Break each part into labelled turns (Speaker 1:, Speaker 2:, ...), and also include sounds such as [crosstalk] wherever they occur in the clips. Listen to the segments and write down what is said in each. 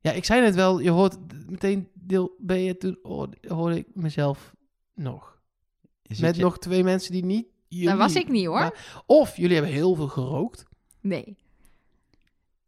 Speaker 1: Ja, ik zei net wel, je hoort meteen deel B en toen hoorde- hoorde ik mezelf nog.
Speaker 2: Is
Speaker 1: Met
Speaker 2: het je-
Speaker 1: nog twee mensen die niet...
Speaker 2: Daar
Speaker 1: jullie-
Speaker 2: Dat was ik niet hoor.
Speaker 1: Maar- Of jullie hebben heel veel gerookt.
Speaker 2: Nee.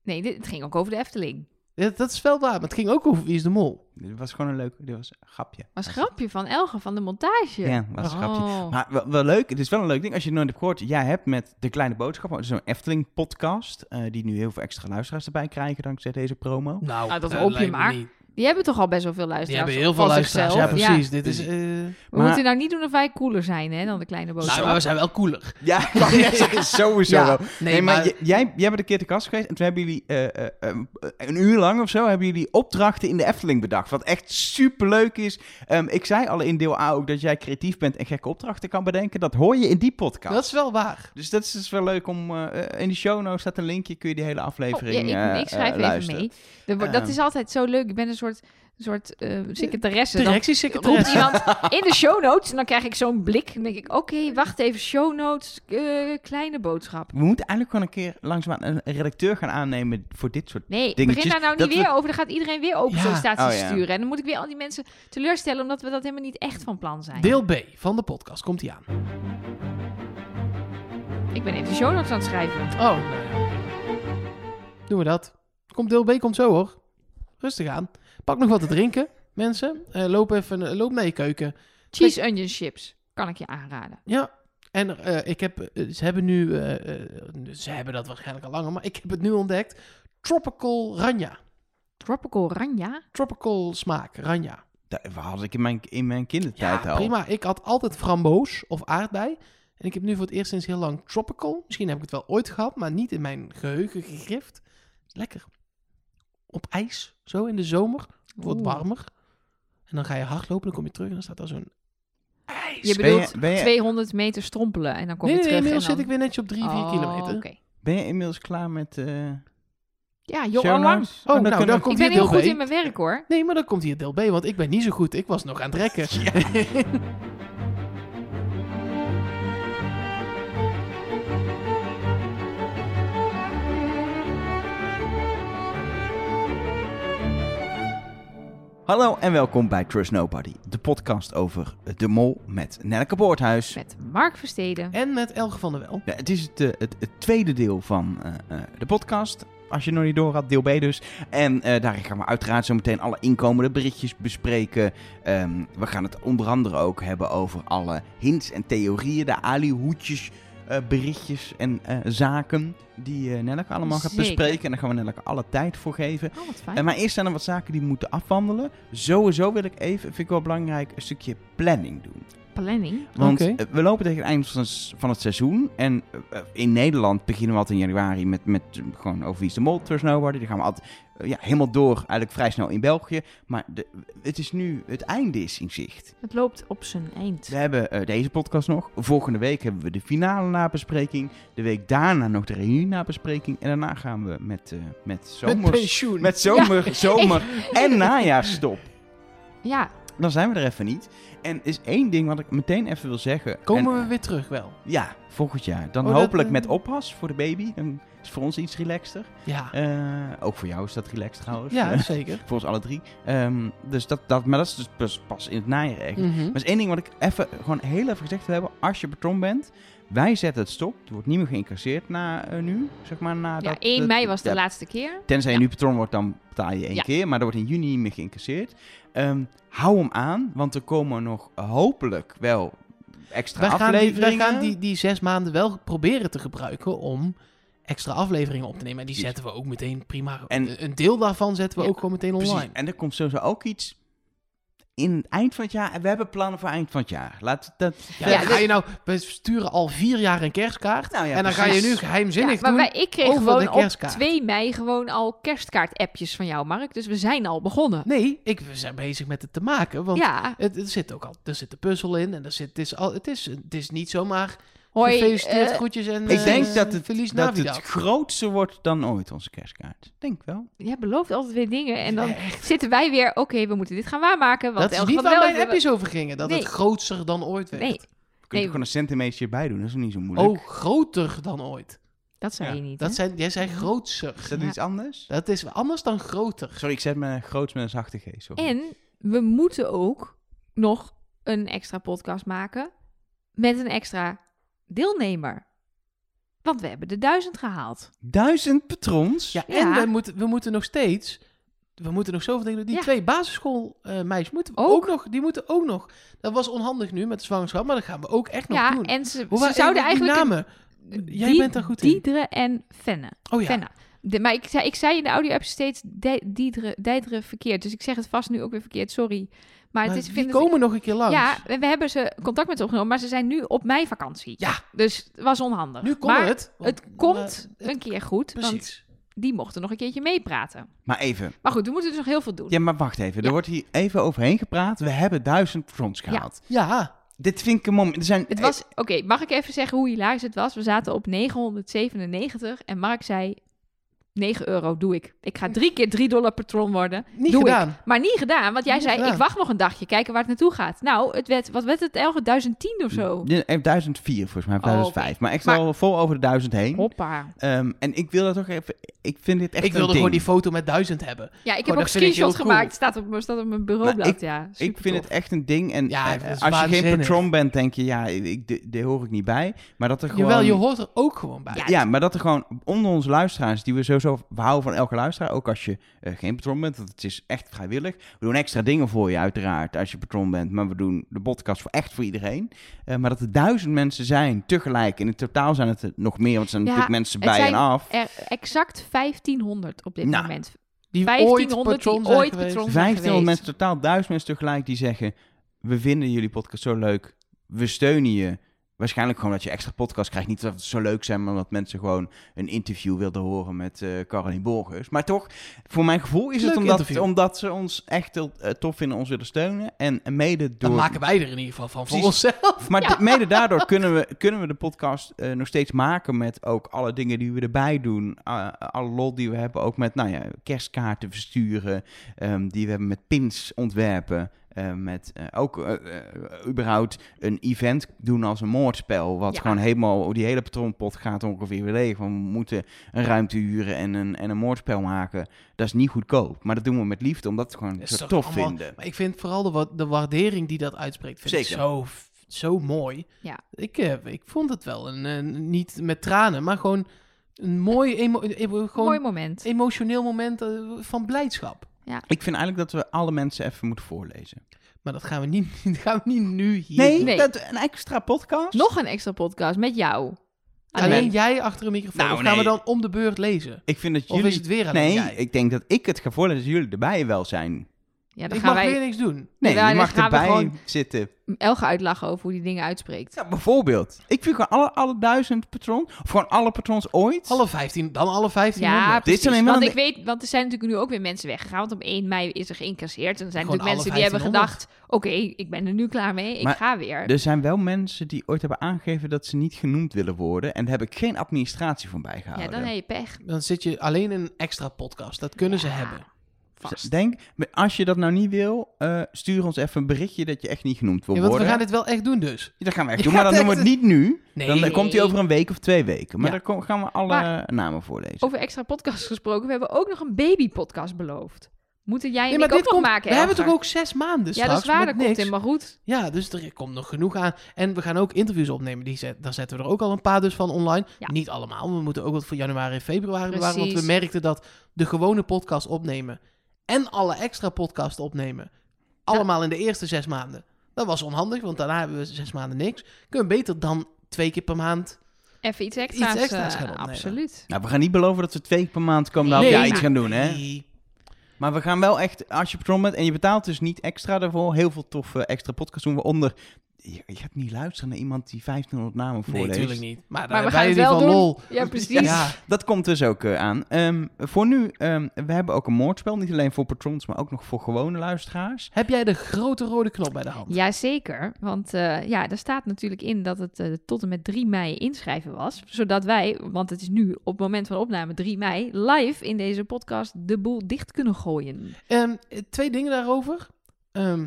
Speaker 2: Nee, dit, het ging ook over de Efteling.
Speaker 1: Dat, dat is wel waar, maar het ging ook over Wie is de Mol.
Speaker 2: Dit was gewoon een leuk... Dit was een grapje. Was een grapje van Elge van de montage. Ja, was een grapje. Oh. Maar wel, wel leuk, het is wel een leuk ding. Als je het nooit hebt gehoord, jij hebt met De Kleine Boodschap, oh, zo'n Efteling-podcast, eh, die nu heel veel extra luisteraars erbij krijgen dankzij deze promo.
Speaker 1: Nou,
Speaker 2: Ah, dat
Speaker 1: eh,
Speaker 2: hoop je
Speaker 1: lijkt me
Speaker 2: maar.
Speaker 1: niet.
Speaker 2: Die hebben toch al best wel veel luisteraars.
Speaker 1: Die hebben heel
Speaker 2: van
Speaker 1: veel luisteraars. Ja,
Speaker 2: zichzelf.
Speaker 1: precies. Dit
Speaker 2: Dus-
Speaker 1: is... eh,
Speaker 2: We
Speaker 1: maar-
Speaker 2: moeten nou niet doen of wij cooler zijn hè, dan de kleine boodschap. Oh,
Speaker 1: Nou, maar we zijn wel cooler.
Speaker 2: [laughs] Ja, ik wou net zeggen, sowieso
Speaker 1: Ja,
Speaker 2: wel.
Speaker 1: nee,
Speaker 2: Nee, maar, j- jij, jij bent een keer te kast geweest en toen hebben jullie eh, eh, eh, een uur lang of zo hebben jullie opdrachten in de Efteling bedacht. Wat echt superleuk is. Ehm, ik zei al in deel A ook dat jij creatief bent en gekke opdrachten kan bedenken. Dat hoor je in die podcast.
Speaker 1: Dat is wel waar.
Speaker 2: Dus dat is dus wel leuk om. eh, eh, in de show notes staat een linkje, kun je die hele aflevering. Oh, ja, ik, eh, ik schrijf eh, even luisteren. mee. Er wordt- dat Ehm. is altijd zo leuk. Ik ben een soort, soort eh, secretaresse. Dan roept
Speaker 1: Directiesecretaris.
Speaker 2: iemand in de show notes en dan krijg ik zo'n blik. Dan denk ik, oké, wacht even, show notes, eh, kleine boodschap. We moeten eigenlijk gewoon een keer langzaamaan een redacteur gaan aannemen voor dit soort. Nee, Dingetjes, begin daar nou dat niet we- weer over. Dan gaat iedereen weer open
Speaker 1: Ja.
Speaker 2: sollicitaties Oh, ja. sturen. En dan moet ik weer al die mensen teleurstellen omdat we dat helemaal niet echt van plan zijn.
Speaker 1: Deel B van de podcast. Komt die aan.
Speaker 2: Ik ben even de show notes aan het schrijven.
Speaker 1: Oh, nou ja. Doen we dat. Komt deel B, komt zo hoor. Rustig aan. Pak nog wat te drinken, mensen. Eh, loop even eh, loop naar je keuken.
Speaker 2: Cheese onion chips kan ik je aanraden.
Speaker 1: Ja. En eh, ik heb, eh, ze hebben nu, eh, eh, ze hebben dat waarschijnlijk al langer, maar ik heb het nu ontdekt. Tropical Ranja.
Speaker 2: Tropical Ranja.
Speaker 1: Tropical smaak, Ranja.
Speaker 2: Dat had ik in mijn, in mijn
Speaker 1: Ja,
Speaker 2: kindertijd al.
Speaker 1: prima. Ik had altijd framboos of aardbei. En ik heb nu voor het eerst sinds heel lang tropical. Misschien heb ik het wel ooit gehad, maar niet in mijn geheugen gegrift. Lekker. Op ijs, zo in de zomer. Het wordt
Speaker 2: Oeh.
Speaker 1: warmer. En dan ga je hardlopen, dan kom je terug en dan staat daar zo'n ijs.
Speaker 2: Je
Speaker 1: Nee,
Speaker 2: bedoelt Ben je- ben je- 200 meter strompelen en dan kom
Speaker 1: nee,
Speaker 2: je
Speaker 1: nee,
Speaker 2: terug.
Speaker 1: inmiddels
Speaker 2: en
Speaker 1: zit
Speaker 2: dan...
Speaker 1: ik weer netjes op 3, 4
Speaker 2: Oh,
Speaker 1: kilometer.
Speaker 2: oké. Ben je inmiddels klaar met. eh Ja, joh, show allang. notes?
Speaker 1: Oh, nou,
Speaker 2: kunnen
Speaker 1: dan
Speaker 2: we-
Speaker 1: komt
Speaker 2: Ik ben
Speaker 1: hier
Speaker 2: heel
Speaker 1: deel
Speaker 2: goed
Speaker 1: B.
Speaker 2: in mijn werk hoor.
Speaker 1: Nee, maar dan komt hier deel B, want ik ben niet zo goed. Ik was nog aan het
Speaker 2: [laughs]
Speaker 1: rekken.
Speaker 2: Hallo en welkom bij
Speaker 3: bij Trust Nobody, de podcast over De Mol met Nelke Boorthuis.
Speaker 2: met Mark Versteden.
Speaker 1: En met Elge van der Wel.
Speaker 3: Ja, het is het, eh, het, het tweede deel van eh, eh, de podcast. Als je nog niet door had, deel B dus. En eh daar gaan we uiteraard zo meteen alle inkomende berichtjes bespreken. Ehm, we gaan het onder andere ook hebben over alle hints en theorieën, de alihoedjes, eh berichtjes en eh, zaken die eh Nelke allemaal gaat
Speaker 2: Zeker.
Speaker 3: bespreken. En daar gaan we Nelke alle tijd voor geven.
Speaker 2: Oh, wat fijn.
Speaker 3: Eh, maar eerst zijn er wat zaken die we moeten afwandelen. Sowieso wil ik even, vind ik wel belangrijk, een stukje planning doen.
Speaker 2: Planning.
Speaker 3: Want
Speaker 1: Oké.
Speaker 3: eh, we lopen tegen het eind van s- van het seizoen. En eh, eh, in Nederland beginnen we altijd in januari met, met eh, gewoon over wie is de mol, Trust Nobody. Die gaan we altijd eh, ja, helemaal door, eigenlijk vrij snel in België. Maar de, het is nu, het einde is in zicht.
Speaker 2: Het loopt op zijn eind.
Speaker 3: We hebben eh, deze podcast nog. Volgende week hebben we de finale nabespreking. De week daarna nog de reunie nabespreking. En daarna gaan we met, eh met
Speaker 1: Met
Speaker 3: zomer,
Speaker 1: pensioen.
Speaker 3: met zomer, zomer
Speaker 1: [laughs]
Speaker 3: en najaarstop.
Speaker 2: Ja,
Speaker 3: Dan zijn we er even niet. En is één ding wat ik meteen even wil zeggen. En-
Speaker 1: Komen we weer terug wel?
Speaker 3: Ja, volgend jaar. Dan
Speaker 1: Oh, dat,
Speaker 3: hopelijk
Speaker 1: eh,
Speaker 3: met oppas voor de baby. Dan is het voor ons iets relaxter.
Speaker 1: Ja,
Speaker 3: Eh, ook voor jou is dat relaxed trouwens.
Speaker 1: ja
Speaker 3: Eh, [laughs]
Speaker 1: zeker.
Speaker 3: voor ons alle drie. Ehm, dus dat, dat, maar dat is dus pas, pas in het najaar ergens.
Speaker 1: Mhm.
Speaker 3: Maar is één ding wat ik even, gewoon heel even gezegd wil hebben. Als je patron bent, wij zetten het stop. Het wordt niet meer geïncasseerd na eh, nu, zeg maar. Na
Speaker 2: ja
Speaker 3: dat,
Speaker 2: 1
Speaker 3: dat-
Speaker 2: mei was de
Speaker 3: ja,
Speaker 2: laatste keer.
Speaker 3: Tenzij je
Speaker 2: Ja.
Speaker 3: nu patron wordt, dan betaal je één
Speaker 2: Ja.
Speaker 3: keer. Maar dat wordt in juni niet meer geïncasseerd. Ehm, hou hem aan, want er komen nog hopelijk wel extra
Speaker 1: Wij gaan, die,
Speaker 3: afleveringen.
Speaker 1: wij gaan die, die zes maanden wel proberen te gebruiken om extra afleveringen op te nemen. En die
Speaker 3: Precies.
Speaker 1: zetten we ook meteen prima.
Speaker 3: En-
Speaker 1: En een deel daarvan zetten we
Speaker 2: Ja,
Speaker 1: ook gewoon meteen online.
Speaker 3: Precies. En er komt sowieso ook iets in het eind van het jaar. En we hebben plannen voor eind van het jaar. Laat dat.
Speaker 1: Ja,
Speaker 2: Ja,
Speaker 1: dan
Speaker 2: dus-
Speaker 1: ga je nou, we sturen al vier jaar een kerstkaart.
Speaker 3: Nou ja,
Speaker 1: en dan
Speaker 3: precies.
Speaker 1: ga je nu
Speaker 2: Ja,
Speaker 1: geheimzinnig
Speaker 2: maar
Speaker 1: doen.
Speaker 2: wij, ik kreeg
Speaker 1: over
Speaker 2: gewoon
Speaker 1: de
Speaker 2: op
Speaker 1: kerstkaart.
Speaker 2: 2 mei gewoon al kerstkaart-appjes van jou, Mark. Dus we zijn al begonnen.
Speaker 1: Nee, ik, we zijn bezig met het te maken. Want
Speaker 2: ja,
Speaker 1: het, er zit ook al, er zit de puzzel in. En er zit, het, is al, het, is, het is niet zomaar
Speaker 2: hoi.
Speaker 1: gefeliciteerd,
Speaker 2: eh,
Speaker 1: groetjes en
Speaker 3: ik
Speaker 1: eh,
Speaker 3: denk dat het,
Speaker 1: Feliz
Speaker 3: dat het
Speaker 1: Navidad.
Speaker 3: grootste wordt dan ooit, onze kerstkaart. Denk wel.
Speaker 2: jij belooft altijd weer dingen en dan zitten wij weer... Oké, we moeten dit gaan waarmaken. Want
Speaker 1: dat is
Speaker 2: Elge
Speaker 1: niet
Speaker 2: van
Speaker 1: waar
Speaker 2: Wel
Speaker 1: mijn
Speaker 2: heeft-
Speaker 1: appjes over gingen. Dat
Speaker 2: Nee.
Speaker 1: het grootser dan ooit werd.
Speaker 2: Nee,
Speaker 3: Kun je
Speaker 2: Nee.
Speaker 3: er gewoon een centimeter bij doen? Dat is niet zo moeilijk.
Speaker 1: Oh, groter dan ooit.
Speaker 2: Dat zei
Speaker 4: Ja,
Speaker 2: je niet.
Speaker 1: Dat
Speaker 2: hè?
Speaker 1: zijn, jij zei grootser.
Speaker 4: Is dat
Speaker 2: Ja.
Speaker 4: iets anders?
Speaker 1: Dat is anders dan groter.
Speaker 4: Sorry, ik zet me groots met een zachte G. Sorry.
Speaker 2: En we moeten ook nog een extra podcast maken met een extra deelnemer. Want we hebben de duizend gehaald.
Speaker 4: Duizend patrons?
Speaker 1: Ja,
Speaker 2: Ja.
Speaker 1: en we moeten, we moeten nog steeds... We moeten nog zoveel dingen doen. Die
Speaker 2: Ja.
Speaker 1: twee basisschoolmeisjes moeten we
Speaker 2: Ook.
Speaker 1: ook. nog... Die moeten ook nog... Dat was onhandig nu met de zwangerschap, maar dat gaan we ook echt nog
Speaker 2: ja,
Speaker 1: doen.
Speaker 2: en ze,
Speaker 1: Hoe
Speaker 2: ze
Speaker 1: waren
Speaker 2: zouden
Speaker 1: die
Speaker 2: eigenlijk...
Speaker 1: namen?
Speaker 2: een-
Speaker 1: Jij
Speaker 2: Die-
Speaker 1: bent daar goed in.
Speaker 2: Diedre en Fenne.
Speaker 1: Oh ja.
Speaker 2: Fenna. De- maar ik zei, ik zei in de audio-app steeds de- Diedre, Diedre verkeerd. Dus ik zeg het vast nu ook weer verkeerd, sorry. Maar,
Speaker 1: Maar
Speaker 2: het is... ik
Speaker 1: die
Speaker 2: vind het-
Speaker 1: komen nog een keer langs.
Speaker 2: Ja, we we hebben ze contact met ze opgenomen, maar ze zijn nu op mijn vakantie.
Speaker 1: Ja.
Speaker 2: Dus het was onhandig.
Speaker 1: nu komt
Speaker 2: maar
Speaker 1: het. want,
Speaker 2: het komt
Speaker 1: eh,
Speaker 2: een keer goed, want
Speaker 1: Precies.
Speaker 2: die mochten nog een keertje meepraten.
Speaker 3: Maar even,
Speaker 2: Maar goed, we moeten dus nog heel veel doen.
Speaker 3: ja, maar wacht even.
Speaker 2: Ja.
Speaker 3: Er wordt hier even overheen gepraat. We hebben duizend patrons gehaald.
Speaker 1: Ja.
Speaker 3: Dit vind ik een moment. Er zijn,
Speaker 2: Het was, oké, mag ik even zeggen hoe hilarisch het was? We zaten op 997 en Mark zei, 9 euro doe ik. Ik ga drie keer 3 dollar patron worden.
Speaker 1: Niet
Speaker 2: doe
Speaker 1: gedaan.
Speaker 2: Ik. Maar niet gedaan, want jij
Speaker 1: Niet
Speaker 2: zei,
Speaker 1: gedaan.
Speaker 2: ik wacht nog een dagje, kijken waar het naartoe gaat. Nou, het werd, wat werd het, elke 1010 of zo?
Speaker 3: Ja, eh, 1004 volgens mij, of
Speaker 2: Oh,
Speaker 3: 1005. Maar echt wel vol over de 1000 heen.
Speaker 2: Hoppa.
Speaker 3: Ehm, en ik wil dat toch even. Ik vind dit echt.
Speaker 1: Ik wilde
Speaker 3: een ding.
Speaker 1: gewoon die foto met duizend hebben.
Speaker 2: Ja, ik
Speaker 1: Oh,
Speaker 2: heb ook
Speaker 1: dat vind ik heel
Speaker 2: screenshots
Speaker 1: cool.
Speaker 2: gemaakt, staat op, mijn- staat op mijn bureaublad,
Speaker 3: Maar
Speaker 2: ja.
Speaker 3: Ik vind
Speaker 2: supertof.
Speaker 3: het echt een ding. En
Speaker 1: Ja,
Speaker 3: eh,
Speaker 1: dat is
Speaker 3: als je geen
Speaker 1: waanzinnig.
Speaker 3: patron bent, denk je, ja, ik, de- daar hoor ik niet bij. Maar dat er gewoon.
Speaker 1: Jawel, je hoort er ook gewoon bij.
Speaker 2: Ja,
Speaker 3: Ja, maar dat er gewoon onder onze luisteraars, die we sowieso we houden van elke luisteraar, ook als je eh, geen patron bent, want het is echt vrijwillig. We doen extra dingen voor je, uiteraard, als je patron bent, maar we doen de podcast voor echt voor iedereen. Eh, maar dat er duizend mensen zijn tegelijk, en in totaal zijn het er nog meer, want er zijn
Speaker 2: Ja,
Speaker 3: natuurlijk mensen
Speaker 2: het
Speaker 3: bij
Speaker 2: zijn
Speaker 3: en af.
Speaker 2: Er, exact 1500 op dit
Speaker 3: Nou,
Speaker 2: moment.
Speaker 1: Die
Speaker 2: 1500 die
Speaker 1: zijn
Speaker 2: ooit
Speaker 1: geweest.
Speaker 2: patron-
Speaker 3: 1500
Speaker 2: geweest.
Speaker 3: mensen, totaal duizend mensen tegelijk die zeggen, we vinden jullie podcast zo leuk, we steunen je. Waarschijnlijk gewoon dat je extra podcast krijgt. Niet dat het zo leuk zijn, maar omdat mensen gewoon een interview wilden horen met eh Caroline Borgers. Maar toch, voor mijn gevoel is het
Speaker 1: Leuk
Speaker 3: omdat,
Speaker 1: interview.
Speaker 3: omdat ze ons echt heel eh, tof vinden, ons willen steunen. En mede
Speaker 1: Dan
Speaker 3: door...
Speaker 1: maken wij er in ieder geval van voor
Speaker 3: Precies.
Speaker 1: onszelf.
Speaker 3: Maar d- mede daardoor kunnen we, kunnen we de podcast eh, nog steeds maken met ook alle dingen die we erbij doen. Ah, alle lol die we hebben ook met nou ja, kerstkaarten versturen, ehm, die we hebben met pins ontwerpen. eh, met eh, ook eh, eh, überhaupt een event doen als een moordspel. Wat
Speaker 2: Ja.
Speaker 3: gewoon helemaal, die hele patronpot gaat ongeveer weer leeg. Want we moeten een ruimte huren en een, en een moordspel maken. Dat is niet goedkoop. Maar dat doen we met liefde, omdat we het gewoon
Speaker 1: Dat
Speaker 3: zo
Speaker 1: is
Speaker 3: tof
Speaker 1: toch allemaal-
Speaker 3: vinden.
Speaker 1: Maar ik vind vooral de, wa- de waardering die dat uitspreekt, vind ik
Speaker 3: Zeker.
Speaker 1: zo, zo mooi.
Speaker 2: Ja.
Speaker 1: Ik, eh, ik vond het wel een, een- niet met tranen, maar gewoon een mooi, emo- emo- gewoon
Speaker 2: Mooi moment.
Speaker 1: emotioneel moment eh, van blijdschap.
Speaker 3: Ik vind eigenlijk dat we alle mensen even moeten voorlezen.
Speaker 1: Maar dat gaan we niet, [laughs] dat gaan we niet nu hier.
Speaker 3: Nee,
Speaker 1: doen.
Speaker 2: Nee.
Speaker 3: Dat, een extra podcast.
Speaker 2: Nog een extra podcast met jou.
Speaker 1: Alleen
Speaker 2: Alleen.
Speaker 1: jij achter een microfoon.
Speaker 3: Nou,
Speaker 1: of gaan
Speaker 3: nee.
Speaker 1: we dan om de beurt lezen?
Speaker 3: Ik vind dat
Speaker 1: Of
Speaker 3: jullie...
Speaker 1: is het weer alleen
Speaker 3: Nee,
Speaker 1: jij?
Speaker 3: ik denk dat ik het ga voorlezen dat jullie erbij wel zijn.
Speaker 2: Ja, dan
Speaker 1: ik
Speaker 2: gaan
Speaker 1: mag
Speaker 2: wij
Speaker 1: weer niks doen.
Speaker 3: Nee,
Speaker 2: Ja,
Speaker 3: je
Speaker 2: dan
Speaker 3: mag
Speaker 2: gaan we
Speaker 3: erbij
Speaker 2: gewoon-
Speaker 3: zitten.
Speaker 2: Elge uitlachen over hoe die dingen uitspreekt.
Speaker 3: Ja, bijvoorbeeld. Ik vind gewoon alle, alle duizend patrons, of gewoon alle patrons ooit.
Speaker 1: Alle 15, dan alle 15.
Speaker 2: Ja,
Speaker 3: Dit is
Speaker 2: precies.
Speaker 3: alleen wel
Speaker 2: want
Speaker 3: een-
Speaker 2: ik weet, want er zijn natuurlijk nu ook weer mensen weggegaan. Want op 1 mei is er geïncasseerd. En er zijn
Speaker 1: Gewoon
Speaker 2: natuurlijk mensen die
Speaker 1: alle
Speaker 2: hebben gedacht: oké, ik ben er nu klaar mee. Ik
Speaker 3: Maar
Speaker 2: ga weer.
Speaker 3: Er zijn wel mensen die ooit hebben aangegeven dat ze niet genoemd willen worden. En daar heb ik geen administratie van
Speaker 2: Ja,
Speaker 3: bijgehouden.
Speaker 2: dan heb je pech.
Speaker 1: Dan zit je alleen in een extra podcast. Dat kunnen ze
Speaker 2: Ja.
Speaker 1: hebben.
Speaker 3: Dus Denk, maar als je dat nou niet wil, eh, stuur ons even een berichtje dat je echt niet genoemd wil
Speaker 1: Ja, want we
Speaker 3: worden.
Speaker 1: gaan dit wel echt doen dus.
Speaker 3: Ja, dat gaan we echt
Speaker 1: Je
Speaker 3: doen, maar dan
Speaker 1: gaat
Speaker 3: doen we het
Speaker 1: echt-
Speaker 3: niet nu.
Speaker 1: Nee.
Speaker 3: Dan eh, komt hij
Speaker 2: Nee.
Speaker 3: over een week of twee weken. Maar
Speaker 1: Ja.
Speaker 3: dan ko- gaan we alle
Speaker 2: Maar-
Speaker 3: namen voorlezen.
Speaker 2: Over extra podcasts gesproken. We hebben ook nog een babypodcast beloofd. Moeten jij en
Speaker 1: Nee, maar
Speaker 2: ik ook
Speaker 1: dit
Speaker 2: nog
Speaker 1: komt,
Speaker 2: maken?
Speaker 1: we hebben
Speaker 2: Elger?
Speaker 1: toch ook zes maanden
Speaker 2: Ja,
Speaker 1: straks
Speaker 2: dat is waar. Dat
Speaker 1: met
Speaker 2: komt
Speaker 1: niks.
Speaker 2: in. Maar goed.
Speaker 1: Ja, dus er komt nog genoeg aan. En we gaan ook interviews opnemen. Die zet, daar zetten we er ook al een paar dus van online.
Speaker 2: Ja.
Speaker 1: Niet allemaal. We moeten ook wat voor januari en februari bewaren. Want we
Speaker 2: Precies.
Speaker 1: merkten dat de gewone podcast opnemen en alle extra podcasts opnemen, allemaal in de eerste zes maanden. Dat was onhandig, want daarna hebben we zes maanden niks. Kunnen we beter dan twee keer per maand.
Speaker 2: Even iets extra's.
Speaker 1: extra's
Speaker 2: eh,
Speaker 1: gaan opnemen.
Speaker 2: absoluut.
Speaker 3: Nou, we gaan niet beloven dat we twee keer per maand komen
Speaker 2: Nee,
Speaker 3: nee,
Speaker 2: maar-
Speaker 3: iets gaan doen, hè?
Speaker 1: Die-
Speaker 3: Maar we gaan wel echt, als je patron bent en je betaalt dus niet extra daarvoor, heel veel toffe extra podcasts doen we onder. Je, je gaat niet luisteren naar iemand die 1500 namen
Speaker 1: Nee,
Speaker 3: voorleest.
Speaker 1: natuurlijk niet. Maar, daar
Speaker 2: Maar we
Speaker 1: hebben
Speaker 2: gaan
Speaker 1: wij
Speaker 2: het
Speaker 1: die
Speaker 2: wel
Speaker 1: van
Speaker 2: doen.
Speaker 1: lol.
Speaker 2: Ja, precies.
Speaker 1: Ja.
Speaker 3: Dat komt dus ook eh, aan. Ehm, voor nu, ehm, we hebben ook een moordspel. Niet alleen voor patrons, maar ook nog voor gewone luisteraars.
Speaker 1: Heb jij de grote rode knop bij de hand?
Speaker 2: Jazeker, want eh, ja, er staat natuurlijk in dat het eh, tot en met 3 mei inschrijven was. Zodat wij, want het is nu op het moment van opname 3 mei, live in deze podcast de boel dicht kunnen gooien.
Speaker 1: Ehm, eh, twee dingen daarover. Ehm,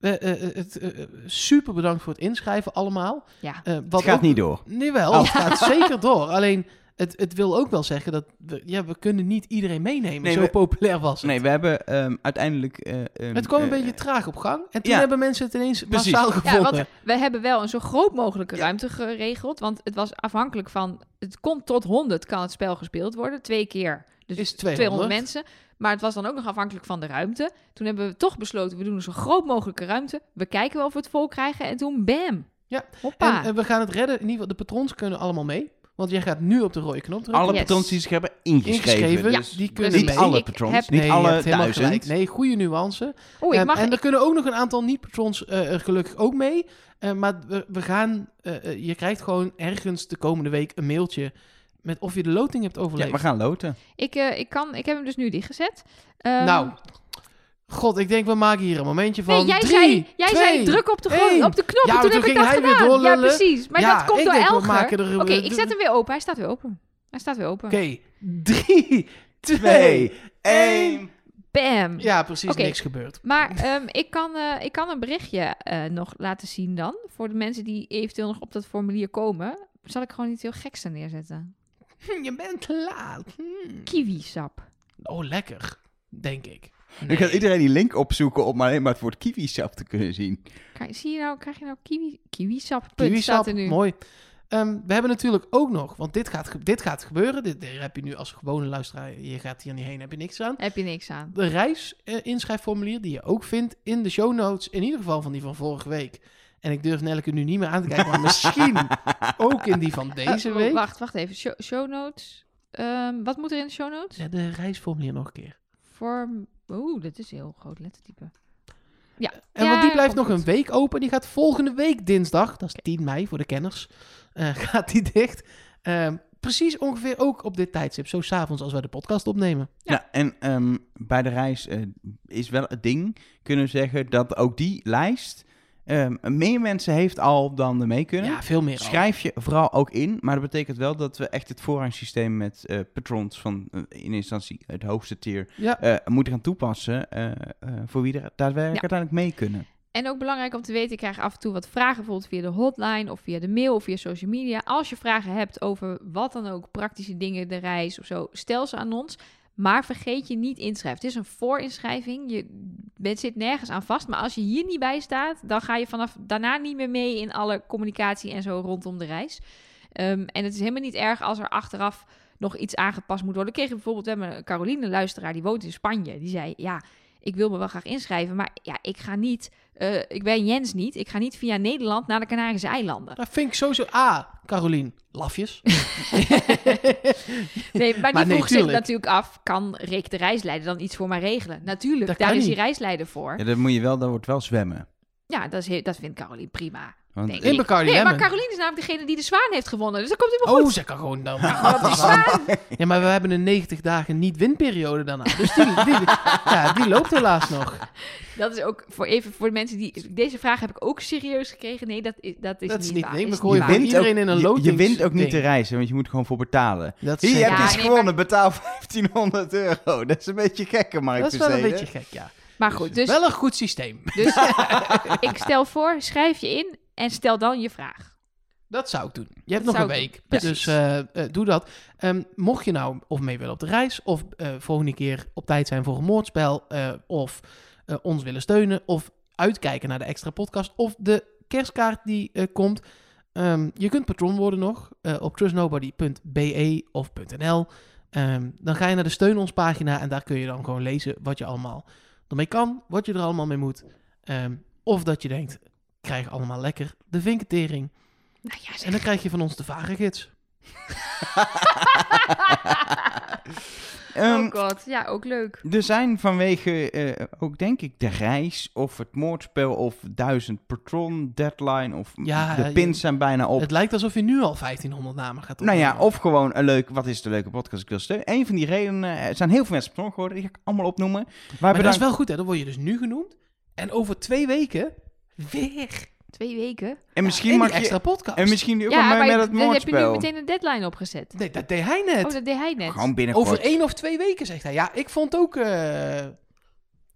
Speaker 1: eh, eh, eh, het, eh, eh, super bedankt voor het inschrijven allemaal.
Speaker 2: Ja.
Speaker 1: Eh, wat
Speaker 3: Het gaat Oh.
Speaker 1: ook-
Speaker 3: niet door. [laughs]
Speaker 1: Nee wel, het gaat zeker door. Alleen Het, het wil ook wel zeggen dat we, ja, we kunnen niet iedereen meenemen.
Speaker 3: Nee,
Speaker 1: zo
Speaker 3: we-
Speaker 1: populair was het.
Speaker 3: Nee, we hebben ehm, uiteindelijk... eh, een,
Speaker 1: het kwam een
Speaker 3: eh,
Speaker 1: beetje traag op gang. En toen
Speaker 3: ja.
Speaker 1: hebben mensen het ineens
Speaker 3: Precies.
Speaker 1: massaal
Speaker 2: Ja,
Speaker 1: gevonden.
Speaker 2: want we hebben wel een zo groot mogelijke ruimte geregeld. Want het was afhankelijk van... Het komt tot 100 kan het spel gespeeld worden. Twee keer. Dus
Speaker 1: Is 200.
Speaker 2: 200 mensen. Maar het was dan ook nog afhankelijk van de ruimte. Toen hebben we toch besloten, we doen een zo groot mogelijke ruimte. We kijken wel of we het vol krijgen. En toen bam.
Speaker 1: Ja,
Speaker 2: Hoppa.
Speaker 1: En eh, we gaan het redden. In ieder geval, de patrons kunnen allemaal mee. Want jij gaat nu op de rode knop drukken.
Speaker 3: Alle
Speaker 2: Yes.
Speaker 3: patrons die zich hebben ingeschreven.
Speaker 1: Ingeschreven,
Speaker 3: Dus
Speaker 1: die kunnen
Speaker 3: niet
Speaker 1: mee.
Speaker 3: alle
Speaker 2: Ik
Speaker 3: patrons,
Speaker 2: heb-
Speaker 3: niet
Speaker 1: Nee, je
Speaker 3: alle
Speaker 1: hebt helemaal
Speaker 3: duizend.
Speaker 1: gelijk. Nee, goede nuance.
Speaker 2: Oeh, ik
Speaker 1: Ehm,
Speaker 2: mag...
Speaker 1: en er
Speaker 2: ik-
Speaker 1: kunnen ook nog een aantal niet-patrons eh, er gelukkig ook mee. Eh, maar we, we gaan, eh, eh, je krijgt gewoon ergens de komende week een mailtje met of je de loting hebt
Speaker 3: Ja,
Speaker 1: overleefd.
Speaker 3: we gaan loten.
Speaker 2: ik, eh, ik, kan, ik heb hem dus nu dichtgezet. Ehm,
Speaker 1: Nou, god, ik denk we maken hier een momentje van.
Speaker 2: nee, jij,
Speaker 1: drie,
Speaker 2: zei, jij zei
Speaker 1: twee.
Speaker 2: druk op de, gro-
Speaker 1: één.
Speaker 2: op de knop.
Speaker 1: Ja,
Speaker 2: en
Speaker 1: maar
Speaker 2: toen,
Speaker 1: toen
Speaker 2: heb ik
Speaker 1: ging
Speaker 2: dat
Speaker 1: hij weer
Speaker 2: gedaan. ja,
Speaker 1: doorlullen.
Speaker 2: precies. Maar
Speaker 1: Ja,
Speaker 2: dat komt
Speaker 1: ik
Speaker 2: door
Speaker 1: denk, we
Speaker 2: Elger.
Speaker 1: maken er-
Speaker 2: Oké, ik zet hem weer open. Hij staat weer open. Hij staat weer open.
Speaker 1: Oké, drie, twee.
Speaker 3: Twee, één.
Speaker 2: Bam.
Speaker 1: Ja, precies,
Speaker 2: Oké.
Speaker 1: niks gebeurd. [laughs]
Speaker 2: Maar ehm, ik, kan, eh, ik kan een berichtje eh, nog laten zien dan. Voor de mensen die eventueel nog op dat formulier komen. Zal ik gewoon iets heel geks er neerzetten.
Speaker 1: Hm, je bent te laat. Hm.
Speaker 2: Kiwisap.
Speaker 1: Oh, lekker, denk ik.
Speaker 3: Nu gaat iedereen die link opzoeken om alleen maar het woord kiwisap te kunnen zien.
Speaker 2: Krijg, zie je nou, krijg je nou kiwi, kiwisap? Punt
Speaker 1: Kiwisap,
Speaker 2: staat er nu.
Speaker 1: mooi. Ehm, we hebben natuurlijk ook nog, want dit gaat, ge- dit gaat gebeuren. Dit, hier heb je nu als gewone luisteraar, je gaat hier niet heen, heb je niks aan.
Speaker 2: Heb je niks aan.
Speaker 1: De reis-inschrijfformulier die je ook vindt in de show notes, in ieder geval van die van vorige week. En ik durf Nelleke nu niet meer aan te kijken, maar
Speaker 2: [laughs]
Speaker 1: misschien ook in die van deze
Speaker 2: Eh,
Speaker 1: week.
Speaker 2: Wacht, wacht even. Show, show notes. Ehm, wat moet er in de show notes?
Speaker 1: Zet de reisformulier nog een keer.
Speaker 2: Voor... Oeh, dat is een heel groot lettertype. Ja.
Speaker 1: En
Speaker 2: ja,
Speaker 1: want die blijft
Speaker 2: komt
Speaker 1: nog een
Speaker 2: goed.
Speaker 1: week open. Die gaat volgende week dinsdag, dat is 10 mei voor de kenners, eh, [laughs] gaat die dicht. Ehm, precies ongeveer ook op dit tijdstip, zo s'avonds als wij de podcast opnemen.
Speaker 3: Ja. en ehm, bij de reis eh, is wel het ding, kunnen we zeggen, dat ook die lijst ehm, meer mensen heeft al dan er mee kunnen.
Speaker 1: Ja, veel meer. al.
Speaker 3: Schrijf je vooral ook in, maar dat betekent wel dat we echt het voorrangssysteem met eh, patrons van eh, in instantie het hoogste tier
Speaker 1: Ja.
Speaker 3: eh, moeten gaan toepassen eh, eh, voor wie er daadwerkelijk uiteindelijk mee kunnen.
Speaker 2: En ook belangrijk om te weten, ik krijg af en toe wat vragen, bijvoorbeeld via de hotline of via de mail of via social media. Als je vragen hebt over wat dan ook, praktische dingen, de reis of zo, stel ze aan ons. Maar vergeet je niet inschrijven. Het is een voorinschrijving. Je bent, zit nergens aan vast. Maar als je hier niet bij staat, dan ga je vanaf daarna niet meer mee in alle communicatie en zo rondom de reis. Ehm, en het is helemaal niet erg als er achteraf nog iets aangepast moet worden. Ik kreeg bijvoorbeeld, we hebben een Caroline een luisteraar, die woont in Spanje. Die zei, ja, ik wil me wel graag inschrijven, maar ja, ik ga niet eh, ik ben Jens niet. Ik ga niet via Nederland naar de Canarische
Speaker 1: [laughs]
Speaker 2: eilanden.
Speaker 1: Dat vind ik sowieso... Ah, Carolien,
Speaker 2: [laughs]
Speaker 1: lafjes.
Speaker 2: Nee, maar
Speaker 1: Maar
Speaker 2: die
Speaker 1: nee,
Speaker 2: vroeg zich
Speaker 1: tuurlijk.
Speaker 2: natuurlijk af: kan Rick de reisleider dan iets voor mij regelen? Natuurlijk,
Speaker 1: Dat
Speaker 2: daar
Speaker 1: kan
Speaker 2: is die
Speaker 1: niet.
Speaker 2: reisleider voor.
Speaker 3: Ja, dat moet je wel, dat wordt wel zwemmen.
Speaker 2: Ja, dat, is heel- dat vindt Caroline prima.
Speaker 3: Want
Speaker 2: denk
Speaker 1: in
Speaker 2: ik.
Speaker 1: Bacardi
Speaker 2: nee, maar
Speaker 1: Lemon.
Speaker 2: Caroline is namelijk degene die de zwaan heeft gewonnen. Dus dat komt helemaal
Speaker 1: Oh,
Speaker 2: goed.
Speaker 1: ze kan gewoon dan.
Speaker 2: Maar die zwaan,
Speaker 1: Ja, maar we hebben een 90 dagen niet-winperiode daarna. Dus die, die, ja, die loopt helaas nog.
Speaker 2: dat is ook voor even voor de mensen die. Deze vraag heb ik ook serieus gekregen. Nee, dat is, dat is
Speaker 1: Dat is
Speaker 2: niet
Speaker 1: niet-
Speaker 2: waar.
Speaker 1: nee,
Speaker 2: Is
Speaker 1: we
Speaker 2: niet
Speaker 1: gooien
Speaker 2: waar.
Speaker 1: gewoon iedereen in een
Speaker 3: je- je,
Speaker 1: lotings-
Speaker 3: wint ook niet
Speaker 1: ding.
Speaker 3: de reizen, want je moet er gewoon voor betalen.
Speaker 1: Dat is,
Speaker 3: Hier heb je
Speaker 1: zeker.
Speaker 2: Ja,
Speaker 3: iets
Speaker 2: nee,
Speaker 3: gewonnen,
Speaker 2: maar-
Speaker 3: betaal [laughs] 1500 euro. Dat is een beetje gekke, Mark
Speaker 1: dat is wel een
Speaker 3: Versteden.
Speaker 1: beetje gek, ja.
Speaker 2: Maar
Speaker 1: [laughs]
Speaker 2: goed, dus,
Speaker 1: Wel een goed systeem.
Speaker 2: dus ik stel voor: schrijf je in en stel dan je vraag.
Speaker 1: Dat zou ik doen. Je hebt
Speaker 2: Dat
Speaker 1: nog een
Speaker 2: zou ik
Speaker 1: week.
Speaker 2: doen.
Speaker 1: Dus
Speaker 2: Precies.
Speaker 1: eh, eh, doe dat. Ehm, mocht je nou of mee willen op de reis, of eh, volgende keer op tijd zijn voor een moordspel, eh, of eh, ons willen steunen, of uitkijken naar de extra podcast, of de kerstkaart die eh, komt. Ehm, je kunt patron worden nog eh, op trustnobody.be of .nl. Ehm, dan ga je naar de steun ons pagina en daar kun je dan gewoon lezen wat je allemaal ermee kan, wat je er allemaal mee moet. Ehm, of dat je denkt, krijg allemaal lekker de vinketering.
Speaker 2: Nou ja, zeg.
Speaker 1: [laughs] En dan krijg je van ons de varengids.
Speaker 3: Ehm, [laughs]
Speaker 2: oh god, ja, ook leuk.
Speaker 3: Er zijn vanwege eh, ook denk ik de reis of het moordspel of duizend patron deadline of
Speaker 1: Ja,
Speaker 3: de
Speaker 1: eh,
Speaker 3: pins zijn bijna op.
Speaker 1: Het lijkt alsof je nu al 1500 namen gaat
Speaker 3: Nou ja,
Speaker 1: opnemen.
Speaker 3: of gewoon een leuk, wat is de leuke podcast ik wil steunen. Een van die redenen, eh, er zijn heel veel mensen patron geworden, die ga ik allemaal opnoemen. Maar
Speaker 1: Maar dat
Speaker 3: bedankt,
Speaker 1: is wel goed, hè? Dan word je dus nu genoemd. En over twee weken weer.
Speaker 2: Twee weken?
Speaker 3: en misschien
Speaker 1: in
Speaker 3: mag
Speaker 1: die extra
Speaker 3: je,
Speaker 1: podcast.
Speaker 3: en misschien doe je ook wel
Speaker 2: ja, maar
Speaker 3: mee met
Speaker 2: je-
Speaker 3: het
Speaker 2: dan heb je nu
Speaker 3: moordspel.
Speaker 2: meteen een deadline opgezet.
Speaker 1: Nee, dat deed hij net.
Speaker 2: Oh, dat deed hij net.
Speaker 3: Gewoon binnenkort.
Speaker 1: over één of twee weken, zegt hij. Ja, ik vond ook... eh,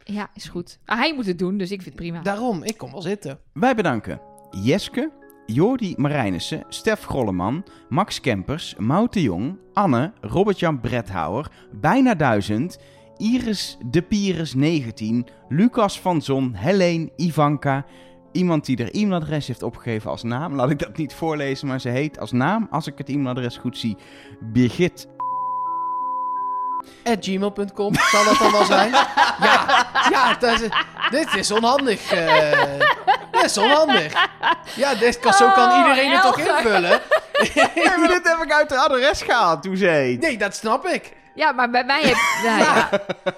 Speaker 2: Ja, is goed. Ah, hij moet het doen, dus ik vind het prima.
Speaker 1: Daarom, ik kom wel zitten.
Speaker 3: Wij bedanken Jeske, Jordi Marijnissen, Stef Grolleman, Max Kempers, Mout de Jong, Anne, Robert-Jan Bredhouwer, Bijna Duizend, Iris de Pires 19, Lucas van Zon, Helene, Ivanka. Iemand die er e-mailadres heeft opgegeven als naam. Laat ik dat niet voorlezen, maar ze heet als naam, als ik het e-mailadres goed zie, Birgit
Speaker 1: At gmail.com zal dat dan wel
Speaker 3: [laughs]
Speaker 1: zijn. Ja, ja dat is- dit is onhandig. eh. dit is onhandig. Ja, dit kan, zo kan
Speaker 2: Oh,
Speaker 1: iedereen het toch
Speaker 2: Elger.
Speaker 1: invullen?
Speaker 3: Nee, maar [laughs] dit heb ik uit haar adres gehaald, hoe ze heet.
Speaker 1: Nee, dat snap ik.
Speaker 2: Ja, maar bij mij heb... Nou ja.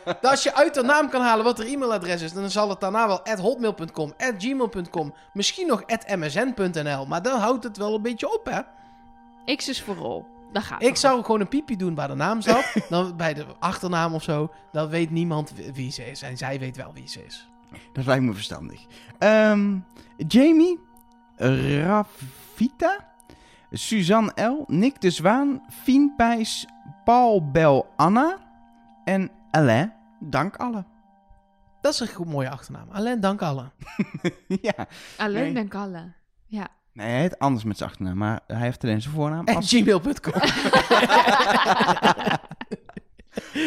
Speaker 1: Dat Als je uit de naam kan halen wat haar e-mailadres is, dan zal het daarna wel at hotmail.com, at gmail.com, misschien nog at msn.nl. Maar dan houdt het wel een beetje op, hè?
Speaker 2: X is vooral. Daar gaat
Speaker 1: Ik zou gewoon een piepje doen waar de naam zat,
Speaker 3: [laughs]
Speaker 1: dan bij de achternaam of zo. Dan weet niemand wie- wie ze is en zij weet wel wie ze is.
Speaker 3: Dat lijkt me verstandig. Ehm, Jamie, Ravita, Suzanne L., Nick de Zwaan, Fien Pijs, Paul Bel Anna en Alain. Dank alle. [laughs]
Speaker 1: Dat is een goed mooie achternaam. Alleen dank allen.
Speaker 3: ja,
Speaker 2: Alleen
Speaker 3: Nee.
Speaker 2: Ah, dan Kalle. Ja.
Speaker 3: nee, hij heet anders met zijn achternaam, maar hij heeft alleen zijn voornaam.
Speaker 1: At
Speaker 3: Als...
Speaker 1: gmail.com.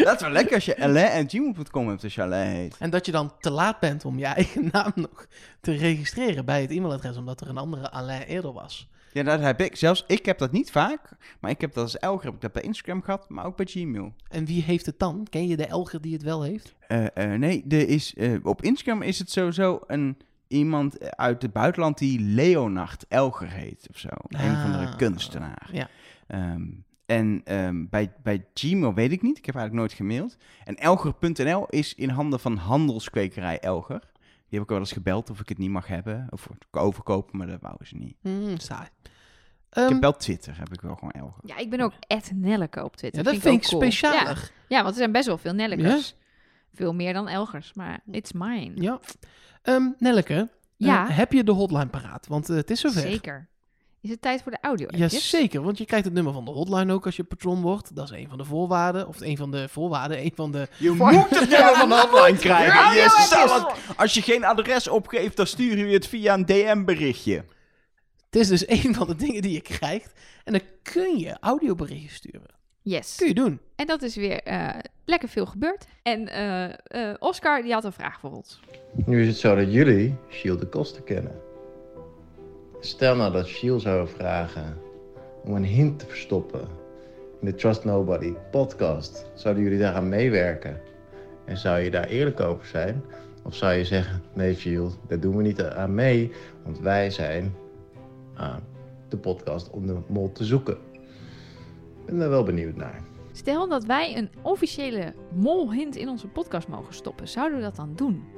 Speaker 3: Dat is wel lekker als je Alain en gmail.com hebt als je Alain heet.
Speaker 1: [laughs] En dat je dan te laat bent om je eigen naam nog te registreren bij het e-mailadres, omdat er een andere Alain eerder was.
Speaker 3: Ja, dat heb ik. Zelfs ik heb dat niet vaak, maar ik heb dat als Elger, heb ik dat bij Instagram gehad, maar ook bij Gmail.
Speaker 1: En wie heeft het dan? Ken je de Elger die het wel heeft?
Speaker 3: Eh, eh, nee, er is, eh, op Instagram is het sowieso een, iemand eh, uit het buitenland die Leonard Elger heet of zo. Een
Speaker 1: Ah,
Speaker 3: van de kunstenaar.
Speaker 1: ja.
Speaker 3: Ehm, en ehm, bij, bij Gmail weet ik niet, ik heb eigenlijk nooit gemaild. En Elger.nl is in handen van handelskwekerij Elger. Die heb ik wel eens gebeld of ik het niet mag hebben. Of het kan overkopen, maar dat wouden ze niet.
Speaker 1: Hmm, saai.
Speaker 3: ik
Speaker 1: Ehm,
Speaker 3: heb wel Twitter, heb ik wel gewoon Elger.
Speaker 2: ja, ik ben ook Ed Nelleke op Twitter.
Speaker 1: ja, dat vind ik
Speaker 2: ook cool. Ja.
Speaker 1: specialer.
Speaker 2: Ja, want er zijn best wel veel Nellekers. Veel meer dan Elgers, maar it's mine.
Speaker 1: Ja. Ehm, Nelleke, eh,
Speaker 2: Ja.
Speaker 1: heb je de hotline paraat? Want eh, het is zover.
Speaker 2: Zeker. Is het tijd voor de audio
Speaker 1: Ja, zeker. Want je krijgt het nummer van de hotline ook als je patron wordt. Dat is een van de voorwaarden. Of een van de voorwaarden. Een van de...
Speaker 3: Je moet het nummer van de hotline krijgen.
Speaker 2: Radio
Speaker 3: Jezus,
Speaker 2: app is-
Speaker 3: want als je geen adres opgeeft, dan sturen we het via een DM-berichtje.
Speaker 1: Het is dus [laughs] een van de dingen die je krijgt. En dan kun je audioberichten sturen.
Speaker 2: Yes.
Speaker 1: Kun je doen.
Speaker 2: En dat is weer eh, lekker veel gebeurd. En eh, eh, Oscar, die had een vraag voor ons.
Speaker 5: Nu is het zo dat jullie Shield de kosten kennen. Stel nou dat Shield zou vragen om een hint te verstoppen in de Trust Nobody podcast. Zouden jullie daaraan meewerken? En zou je daar eerlijk over zijn? Of zou je zeggen, nee Shield, daar doen we niet aan mee, want wij zijn aan de podcast om de mol te zoeken. Ik ben daar wel benieuwd naar.
Speaker 2: Stel dat wij een officiële molhint in onze podcast mogen stoppen. Zouden we dat dan doen?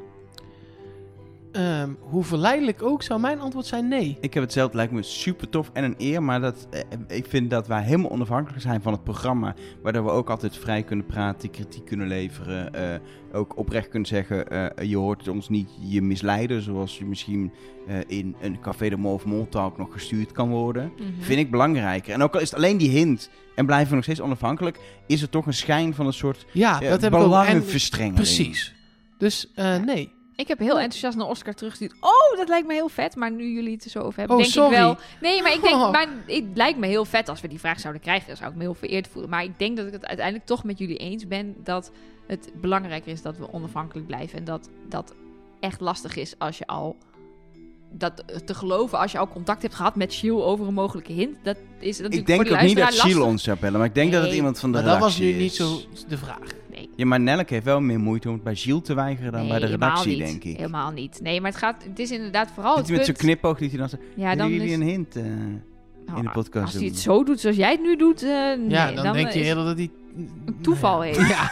Speaker 1: Ehm, hoe verleidelijk ook zou mijn antwoord zijn nee.
Speaker 3: Ik heb het zelf, lijkt me super tof en een eer. Maar dat, eh, ik vind dat wij helemaal onafhankelijk zijn van het programma. Waardoor we ook altijd vrij kunnen praten, kritiek kunnen leveren. eh, ook oprecht kunnen zeggen: eh, je hoort het ons niet, je misleiden. Zoals je misschien eh, in een Café de Mol of Mol Talk nog gestuurd kan worden.
Speaker 2: Mhm.
Speaker 3: Vind ik belangrijker. En ook al is het alleen die hint en blijven we nog steeds onafhankelijk, is er toch een schijn van een soort
Speaker 1: Ja,
Speaker 3: eh,
Speaker 1: dat heb ik ook. En-
Speaker 3: belangenverstrengeling.
Speaker 1: Precies. Dus eh, nee.
Speaker 2: Ik heb heel enthousiast naar Oscar teruggestuurd. Oh, dat lijkt me heel vet. Maar nu jullie het er zo over hebben,
Speaker 1: Oh,
Speaker 2: denk
Speaker 1: sorry.
Speaker 2: ik wel. Nee, maar ik denk,
Speaker 1: Oh.
Speaker 2: maar het lijkt me heel vet als we die vraag zouden krijgen. Dan zou ik me heel vereerd voelen. Maar ik denk dat ik het uiteindelijk toch met jullie eens ben dat het belangrijker is dat we onafhankelijk blijven. En dat dat echt lastig is als je al dat te geloven als je al contact hebt gehad met Shiel over een mogelijke hint. Dat is natuurlijk
Speaker 3: Ik denk
Speaker 2: voor de
Speaker 3: ook niet dat
Speaker 2: luisteraar
Speaker 3: Shiel
Speaker 2: lastig.
Speaker 3: ons zou bellen, maar ik denk dat het
Speaker 2: Nee.
Speaker 3: iemand van de
Speaker 1: Maar dat was
Speaker 3: redactie
Speaker 1: nu niet
Speaker 3: is.
Speaker 1: zo de vraag.
Speaker 2: Nee.
Speaker 3: Ja, maar Nelleke heeft wel meer moeite om het bij Gilles te weigeren dan
Speaker 2: Nee,
Speaker 3: bij de
Speaker 2: helemaal
Speaker 3: redactie,
Speaker 2: niet.
Speaker 3: denk ik.
Speaker 2: Helemaal niet. Nee, maar het gaat. Het is inderdaad vooral
Speaker 3: Zit
Speaker 2: het
Speaker 3: hij met zo'n
Speaker 2: punt-
Speaker 3: knipoog dat hij dan zegt,
Speaker 2: Ja, dan
Speaker 3: willen jullie
Speaker 2: is,
Speaker 3: een hint eh,
Speaker 2: nou,
Speaker 3: in de podcast
Speaker 2: Als hij
Speaker 3: doen?"
Speaker 2: het zo doet zoals jij het nu doet, eh,
Speaker 1: ja,
Speaker 2: nee,
Speaker 1: dan, denk
Speaker 2: eh,
Speaker 1: je
Speaker 2: is-
Speaker 1: eerder dat hij...
Speaker 2: toeval
Speaker 1: Nou
Speaker 2: heeft.
Speaker 1: Ja.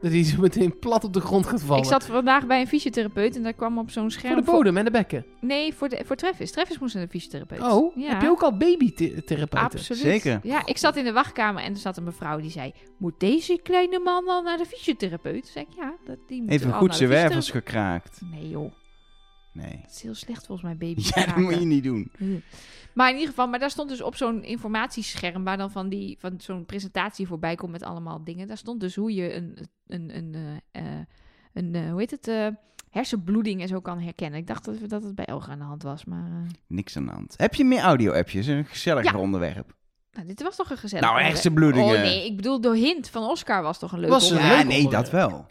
Speaker 1: Dat hij zo meteen plat op de grond gaat vallen.
Speaker 2: Ik zat vandaag bij een fysiotherapeut en daar kwam op zo'n scherm...
Speaker 1: voor de bodem en de bekken.
Speaker 2: nee, voor, de, voor Travis. Travis moest naar de fysiotherapeut.
Speaker 1: Oh,
Speaker 2: Ja.
Speaker 1: heb je ook al babytherapeuten?
Speaker 2: Absoluut.
Speaker 3: Zeker.
Speaker 2: Ja, ik zat in de wachtkamer en er zat een mevrouw die zei... Moet deze kleine man al naar de fysiotherapeut? Toen zei ik, ja, dat, die moet
Speaker 3: Heeft een
Speaker 2: al
Speaker 3: goed
Speaker 2: naar
Speaker 3: zijn
Speaker 2: de
Speaker 3: wervels
Speaker 2: fysiotherapeut."
Speaker 3: gekraakt.
Speaker 2: Nee joh,
Speaker 3: Nee.
Speaker 2: dat is heel slecht volgens mij, baby.
Speaker 3: [laughs] Ja, dat moet je niet doen.
Speaker 2: Maar in ieder geval, maar daar stond dus op zo'n informatiescherm waar dan van, die, van zo'n presentatie voorbij komt met allemaal dingen. Daar stond dus hoe je een, een, een, eh, eh, een eh, hoe heet het, eh, hersenbloeding en zo kan herkennen. Ik dacht dat, dat het bij Elga aan de hand was, maar... eh,
Speaker 3: Niks aan de hand. Heb je meer audio-appjes? Een gezelliger onderwerp.
Speaker 2: nou, dit was toch een gezellig...
Speaker 3: Nou,
Speaker 2: onderwerp.
Speaker 3: hersenbloedingen.
Speaker 2: Oh nee, ik bedoel, de hint van Oscar was toch een leuk
Speaker 1: Was een
Speaker 2: onderwerp.
Speaker 3: Ja,
Speaker 1: leuk
Speaker 3: nee, dat
Speaker 1: onderwerp.
Speaker 3: wel.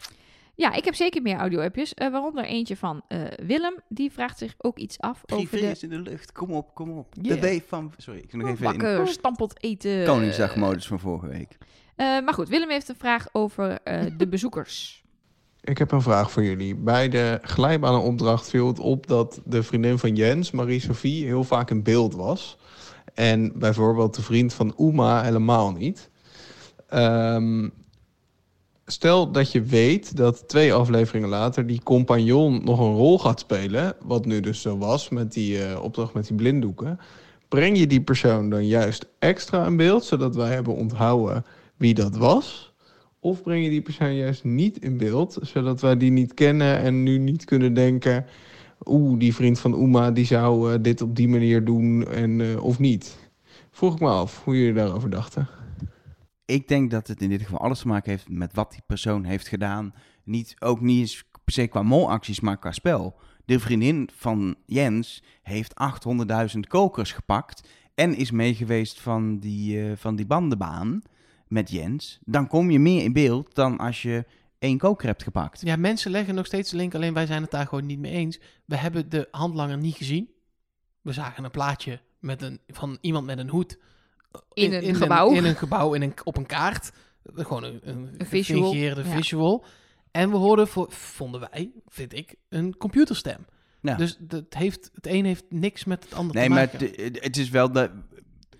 Speaker 2: Ja, ik heb zeker meer audio-appjes. eh, waaronder eentje van eh, Willem. Die vraagt zich ook iets af over de... Oh,
Speaker 3: in de lucht. Kom op, kom op.
Speaker 1: Yeah.
Speaker 3: De W van... Sorry, ik zit nog even in de
Speaker 2: Bakken, stampot eten.
Speaker 3: Koningsdagmodus van vorige week.
Speaker 2: Eh, maar goed, Willem heeft een vraag over eh, de [laughs] bezoekers.
Speaker 6: Ik heb een vraag voor jullie. Bij de glijbanenopdracht viel het op dat de vriendin van Jens, Marie-Sophie, heel vaak in beeld was. En bijvoorbeeld de vriend van Uma helemaal niet. Ehm, stel dat je weet dat twee afleveringen later die compagnon nog een rol gaat spelen. Wat nu dus zo was met die eh, opdracht met die blinddoeken. Breng je die persoon dan juist extra in beeld, zodat wij hebben onthouden wie dat was? Of breng je die persoon juist niet in beeld, zodat wij die niet kennen en nu niet kunnen denken... oeh, die vriend van Uma die zou eh, dit op die manier doen en, eh, of niet. Vroeg ik me af hoe jullie daarover dachten.
Speaker 3: Ik denk dat het in dit geval alles te maken heeft met wat die persoon heeft gedaan. Niet, ook niet eens per se qua molacties, maar qua spel. De vriendin van Jens heeft 800.000 kokers gepakt en is meegeweest van die, eh, van die bandenbaan met Jens. Dan kom je meer in beeld dan als je één koker hebt gepakt.
Speaker 1: Ja, mensen leggen nog steeds de link, alleen wij zijn het daar gewoon niet mee eens. We hebben de handlanger niet gezien. We zagen een plaatje met een, van iemand met een hoed. eh,
Speaker 2: In een gebouw.
Speaker 1: in een gebouw, in een, op een kaart. Gewoon een, een,
Speaker 2: Een visual,
Speaker 1: visual.
Speaker 2: ja.
Speaker 1: visual. En we hoorden, voor, vonden wij, vind ik, een computerstem.
Speaker 3: Ja.
Speaker 1: Dus dat heeft, het een heeft niks met het ander
Speaker 3: Nee,
Speaker 1: te
Speaker 3: maar
Speaker 1: maken.
Speaker 3: het, het is wel dat,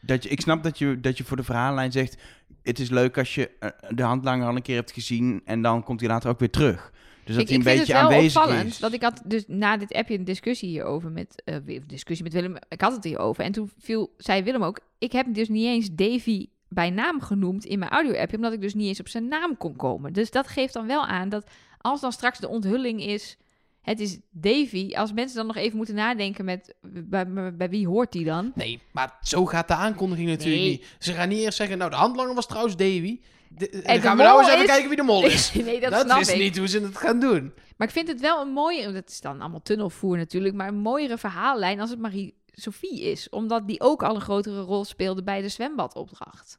Speaker 3: dat je. Ik snap dat je, dat je voor de verhaallijn zegt. Het is leuk als je eh, de handlanger al een keer hebt gezien. En dan komt hij later ook weer terug. Dus dat
Speaker 2: ik,
Speaker 3: hij een
Speaker 2: ik vind
Speaker 3: beetje
Speaker 2: het wel
Speaker 3: aanwezig
Speaker 2: opvallend,
Speaker 3: is.
Speaker 2: want ik had dus na dit appje een discussie hierover met, eh, weer een discussie met Willem, ik had het hierover. En toen viel, zei Willem ook, ik heb dus niet eens Davy bij naam genoemd in mijn audio-appje, omdat ik dus niet eens op zijn naam kon komen. Dus dat geeft dan wel aan dat als dan straks de onthulling is, het is Davy, als mensen dan nog even moeten nadenken met, bij, bij, bij wie hoort die dan?
Speaker 1: Nee, maar zo gaat de aankondiging natuurlijk
Speaker 2: Nee.
Speaker 1: niet. Ze gaan niet eerst zeggen, nou, de handlanger was trouwens Davy. De- en
Speaker 2: En
Speaker 1: dan
Speaker 2: de
Speaker 1: gaan we nou
Speaker 2: mol
Speaker 1: eens even
Speaker 2: is-
Speaker 1: kijken wie de mol is.
Speaker 2: nee, [laughs] dat,
Speaker 1: dat
Speaker 2: snap
Speaker 1: is
Speaker 2: ik.
Speaker 1: niet hoe ze het gaan doen.
Speaker 2: Maar ik vind het wel een mooie, dat is dan allemaal tunnelvoer natuurlijk, maar een mooiere verhaallijn als het Marie-Sophie is. Omdat die ook al een grotere rol speelde bij de zwembadopdracht.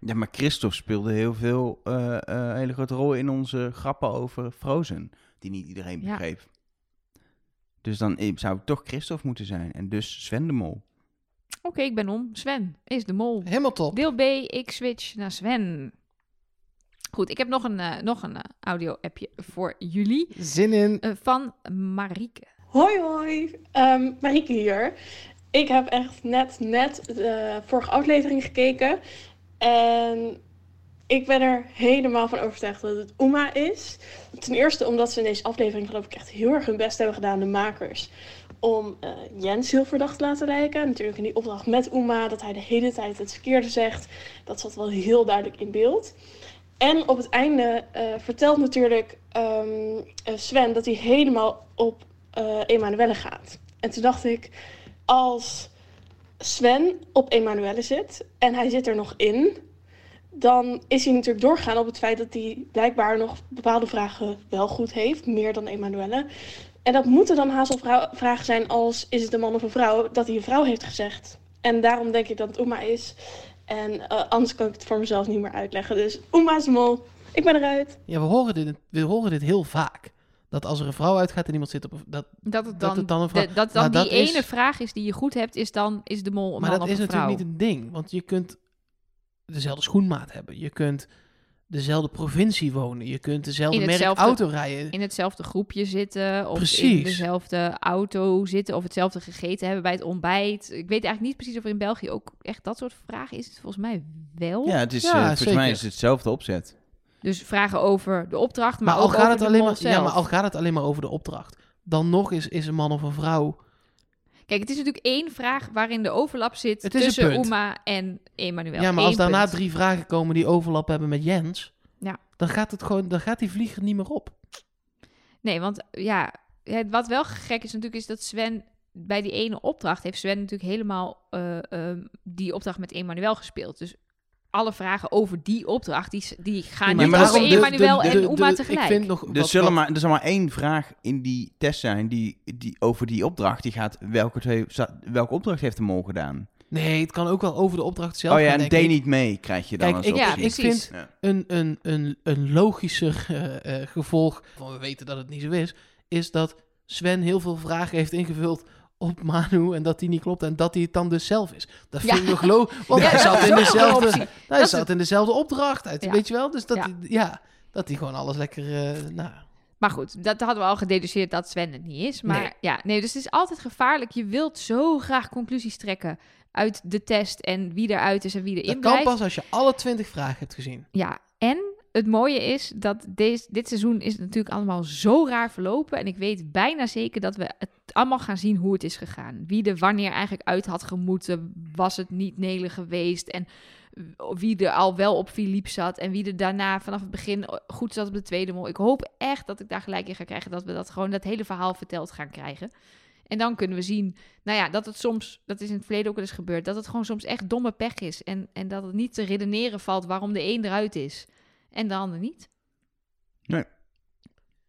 Speaker 3: Ja, maar Christophe speelde heel veel. eh, eh, een hele grote rol in onze grappen over Frozen. Die niet iedereen
Speaker 2: Ja.
Speaker 3: begreep. Dus dan eh, zou het toch Christophe moeten zijn. En dus Sven de Mol.
Speaker 2: Oké, ik ben om. Sven is de mol.
Speaker 1: Helemaal top.
Speaker 2: Deel B, ik switch naar Sven. Goed, ik heb nog een, eh, nog een eh, audio-appje voor jullie
Speaker 1: Zin in.
Speaker 2: eh, van Marieke.
Speaker 7: Hoi hoi, Ehm Marieke hier. Ik heb echt net, net de vorige aflevering gekeken. En ik ben er helemaal van overtuigd dat het Uma is. Ten eerste omdat ze in deze aflevering geloof ik echt heel erg hun best hebben gedaan, de makers. Om eh, Jens heel verdacht te laten lijken. Natuurlijk in die opdracht met Uma, dat hij de hele tijd het verkeerde zegt. Dat zat wel heel duidelijk in beeld. En op het einde eh, vertelt natuurlijk ehm, eh, Sven dat hij helemaal op eh Emanuelle gaat. En toen dacht ik, als Sven op Emanuelle zit en hij zit er nog in, dan is hij natuurlijk doorgaan op het feit dat hij blijkbaar nog bepaalde vragen wel goed heeft, meer dan Emanuelle. En dat moeten dan haast al vrou- vragen zijn als is het een man of een vrouw, dat hij een vrouw heeft gezegd. En daarom denk ik dat het Uma is. En eh, anders kan ik het voor mezelf niet meer uitleggen. Dus Oema's mol, ik ben eruit.
Speaker 1: Ja, we horen, dit, we horen dit heel vaak. Dat als er een vrouw uitgaat en iemand zit op... een- Dat,
Speaker 2: Dat het dan,
Speaker 1: Dat het dan een vrouw-
Speaker 2: de- dat dan
Speaker 1: maar dat
Speaker 2: die
Speaker 1: is-
Speaker 2: ene vraag is die je goed hebt, is dan is de mol een
Speaker 1: maar
Speaker 2: man
Speaker 1: dat
Speaker 2: of
Speaker 1: is
Speaker 2: een vrouw.
Speaker 1: natuurlijk niet een ding. Want je kunt dezelfde schoenmaat hebben. Je kunt dezelfde provincie wonen. Je kunt dezelfde
Speaker 2: In
Speaker 1: merk
Speaker 2: hetzelfde-
Speaker 1: auto rijden.
Speaker 2: in hetzelfde groepje zitten. Of in
Speaker 1: Precies.
Speaker 2: dezelfde auto zitten. Of hetzelfde gegeten hebben bij het ontbijt. Ik weet eigenlijk niet precies of er in België ook echt dat soort vragen is. Het volgens mij wel.
Speaker 3: Ja, het is,
Speaker 1: Ja,
Speaker 3: eh, volgens mij
Speaker 1: zeker.
Speaker 3: is het hetzelfde opzet.
Speaker 2: Dus vragen over de opdracht, maar,
Speaker 1: Maar, al
Speaker 2: ook over
Speaker 1: gaat, het
Speaker 2: de
Speaker 1: alleen
Speaker 2: mol
Speaker 1: maar,
Speaker 2: zelf.
Speaker 1: ja, maar al gaat het alleen maar over de opdracht. Dan nog is, is een man of een vrouw...
Speaker 2: Kijk, het is natuurlijk één vraag waarin de overlap zit
Speaker 1: Het is een
Speaker 2: tussen
Speaker 1: punt.
Speaker 2: Uma en Emmanuel.
Speaker 1: ja, maar
Speaker 2: Eén
Speaker 1: als daarna
Speaker 2: punt.
Speaker 1: drie vragen komen die overlap hebben met Jens...
Speaker 2: Ja. Ah,
Speaker 1: Dan gaat, het gewoon, dan gaat die vlieger niet meer op.
Speaker 2: Nee, want ja, het, wat wel gek is natuurlijk, is dat Sven bij die ene opdracht heeft Sven natuurlijk helemaal eh, ehm, die opdracht met Emmanuel gespeeld. Dus alle vragen over die opdracht, die, die gaan
Speaker 1: maar
Speaker 2: niet
Speaker 1: daarom de-
Speaker 2: over
Speaker 1: de-
Speaker 2: Emmanuel
Speaker 1: de-
Speaker 2: en
Speaker 1: de-
Speaker 2: Uma
Speaker 1: de-
Speaker 2: tegelijk.
Speaker 1: Ik vind nog
Speaker 3: Er,
Speaker 1: wat-
Speaker 3: Dus zullen
Speaker 1: wat-
Speaker 3: maar, er zal maar één vraag in die test zijn die, die over die opdracht. Die gaat welke, twee, za- welke opdracht heeft de mol gedaan?
Speaker 1: Nee, het kan ook wel over de opdracht zelf.
Speaker 3: oh ja,
Speaker 1: gaan,
Speaker 3: en
Speaker 1: denk
Speaker 3: deed
Speaker 1: ik.
Speaker 3: niet mee krijg je dan
Speaker 1: Kijk,
Speaker 3: als
Speaker 1: ik,
Speaker 2: Ja,
Speaker 3: optie.
Speaker 1: ik vind
Speaker 3: Ja.
Speaker 1: een, een, een, een logischer eh, eh, gevolg van we weten dat het niet zo is, is dat Sven heel veel vragen heeft ingevuld op Manu en dat die niet klopt en dat hij het dan dus zelf is. Dat
Speaker 2: Ja.
Speaker 1: vind ik nog logisch, want
Speaker 2: [laughs] Ja,
Speaker 1: hij
Speaker 2: dat
Speaker 1: zat
Speaker 2: is
Speaker 1: in
Speaker 2: ook nog een
Speaker 1: dezelfde,
Speaker 2: optie.
Speaker 1: hij
Speaker 2: Dat is
Speaker 1: zat
Speaker 2: het.
Speaker 1: in dezelfde opdracht uit,
Speaker 2: Ja.
Speaker 1: weet je wel? Dus dat
Speaker 2: Ja.
Speaker 1: hij, ja, dat hij gewoon alles lekker, eh, nou,
Speaker 2: Maar goed, dat hadden we al gededuceerd dat Sven het niet is. Maar
Speaker 1: Nee.
Speaker 2: ja, nee, dus het is altijd gevaarlijk. Je wilt zo graag conclusies trekken uit de test en wie eruit is en wie
Speaker 1: dat
Speaker 2: erin
Speaker 1: kan
Speaker 2: blijft.
Speaker 1: pas als je alle twintig vragen hebt gezien.
Speaker 2: Ja, en het mooie is dat deze, dit seizoen is het natuurlijk allemaal zo raar verlopen. En ik weet bijna zeker dat we het allemaal gaan zien hoe het is gegaan. Wie er wanneer eigenlijk uit had gemoeten, was het niet Nelen geweest. En eh, wie er al wel op Philippe zat en wie er daarna vanaf het begin eh, goed zat op de tweede mol. Ik hoop echt dat ik daar gelijk in ga krijgen, dat we dat gewoon dat hele verhaal verteld gaan krijgen. En dan kunnen we zien, nou ja, dat het soms, dat is in het verleden ook wel eens gebeurd, dat het gewoon soms echt domme pech is. En, en dat het niet te redeneren valt waarom de een eruit is en de ander niet.
Speaker 3: Nee.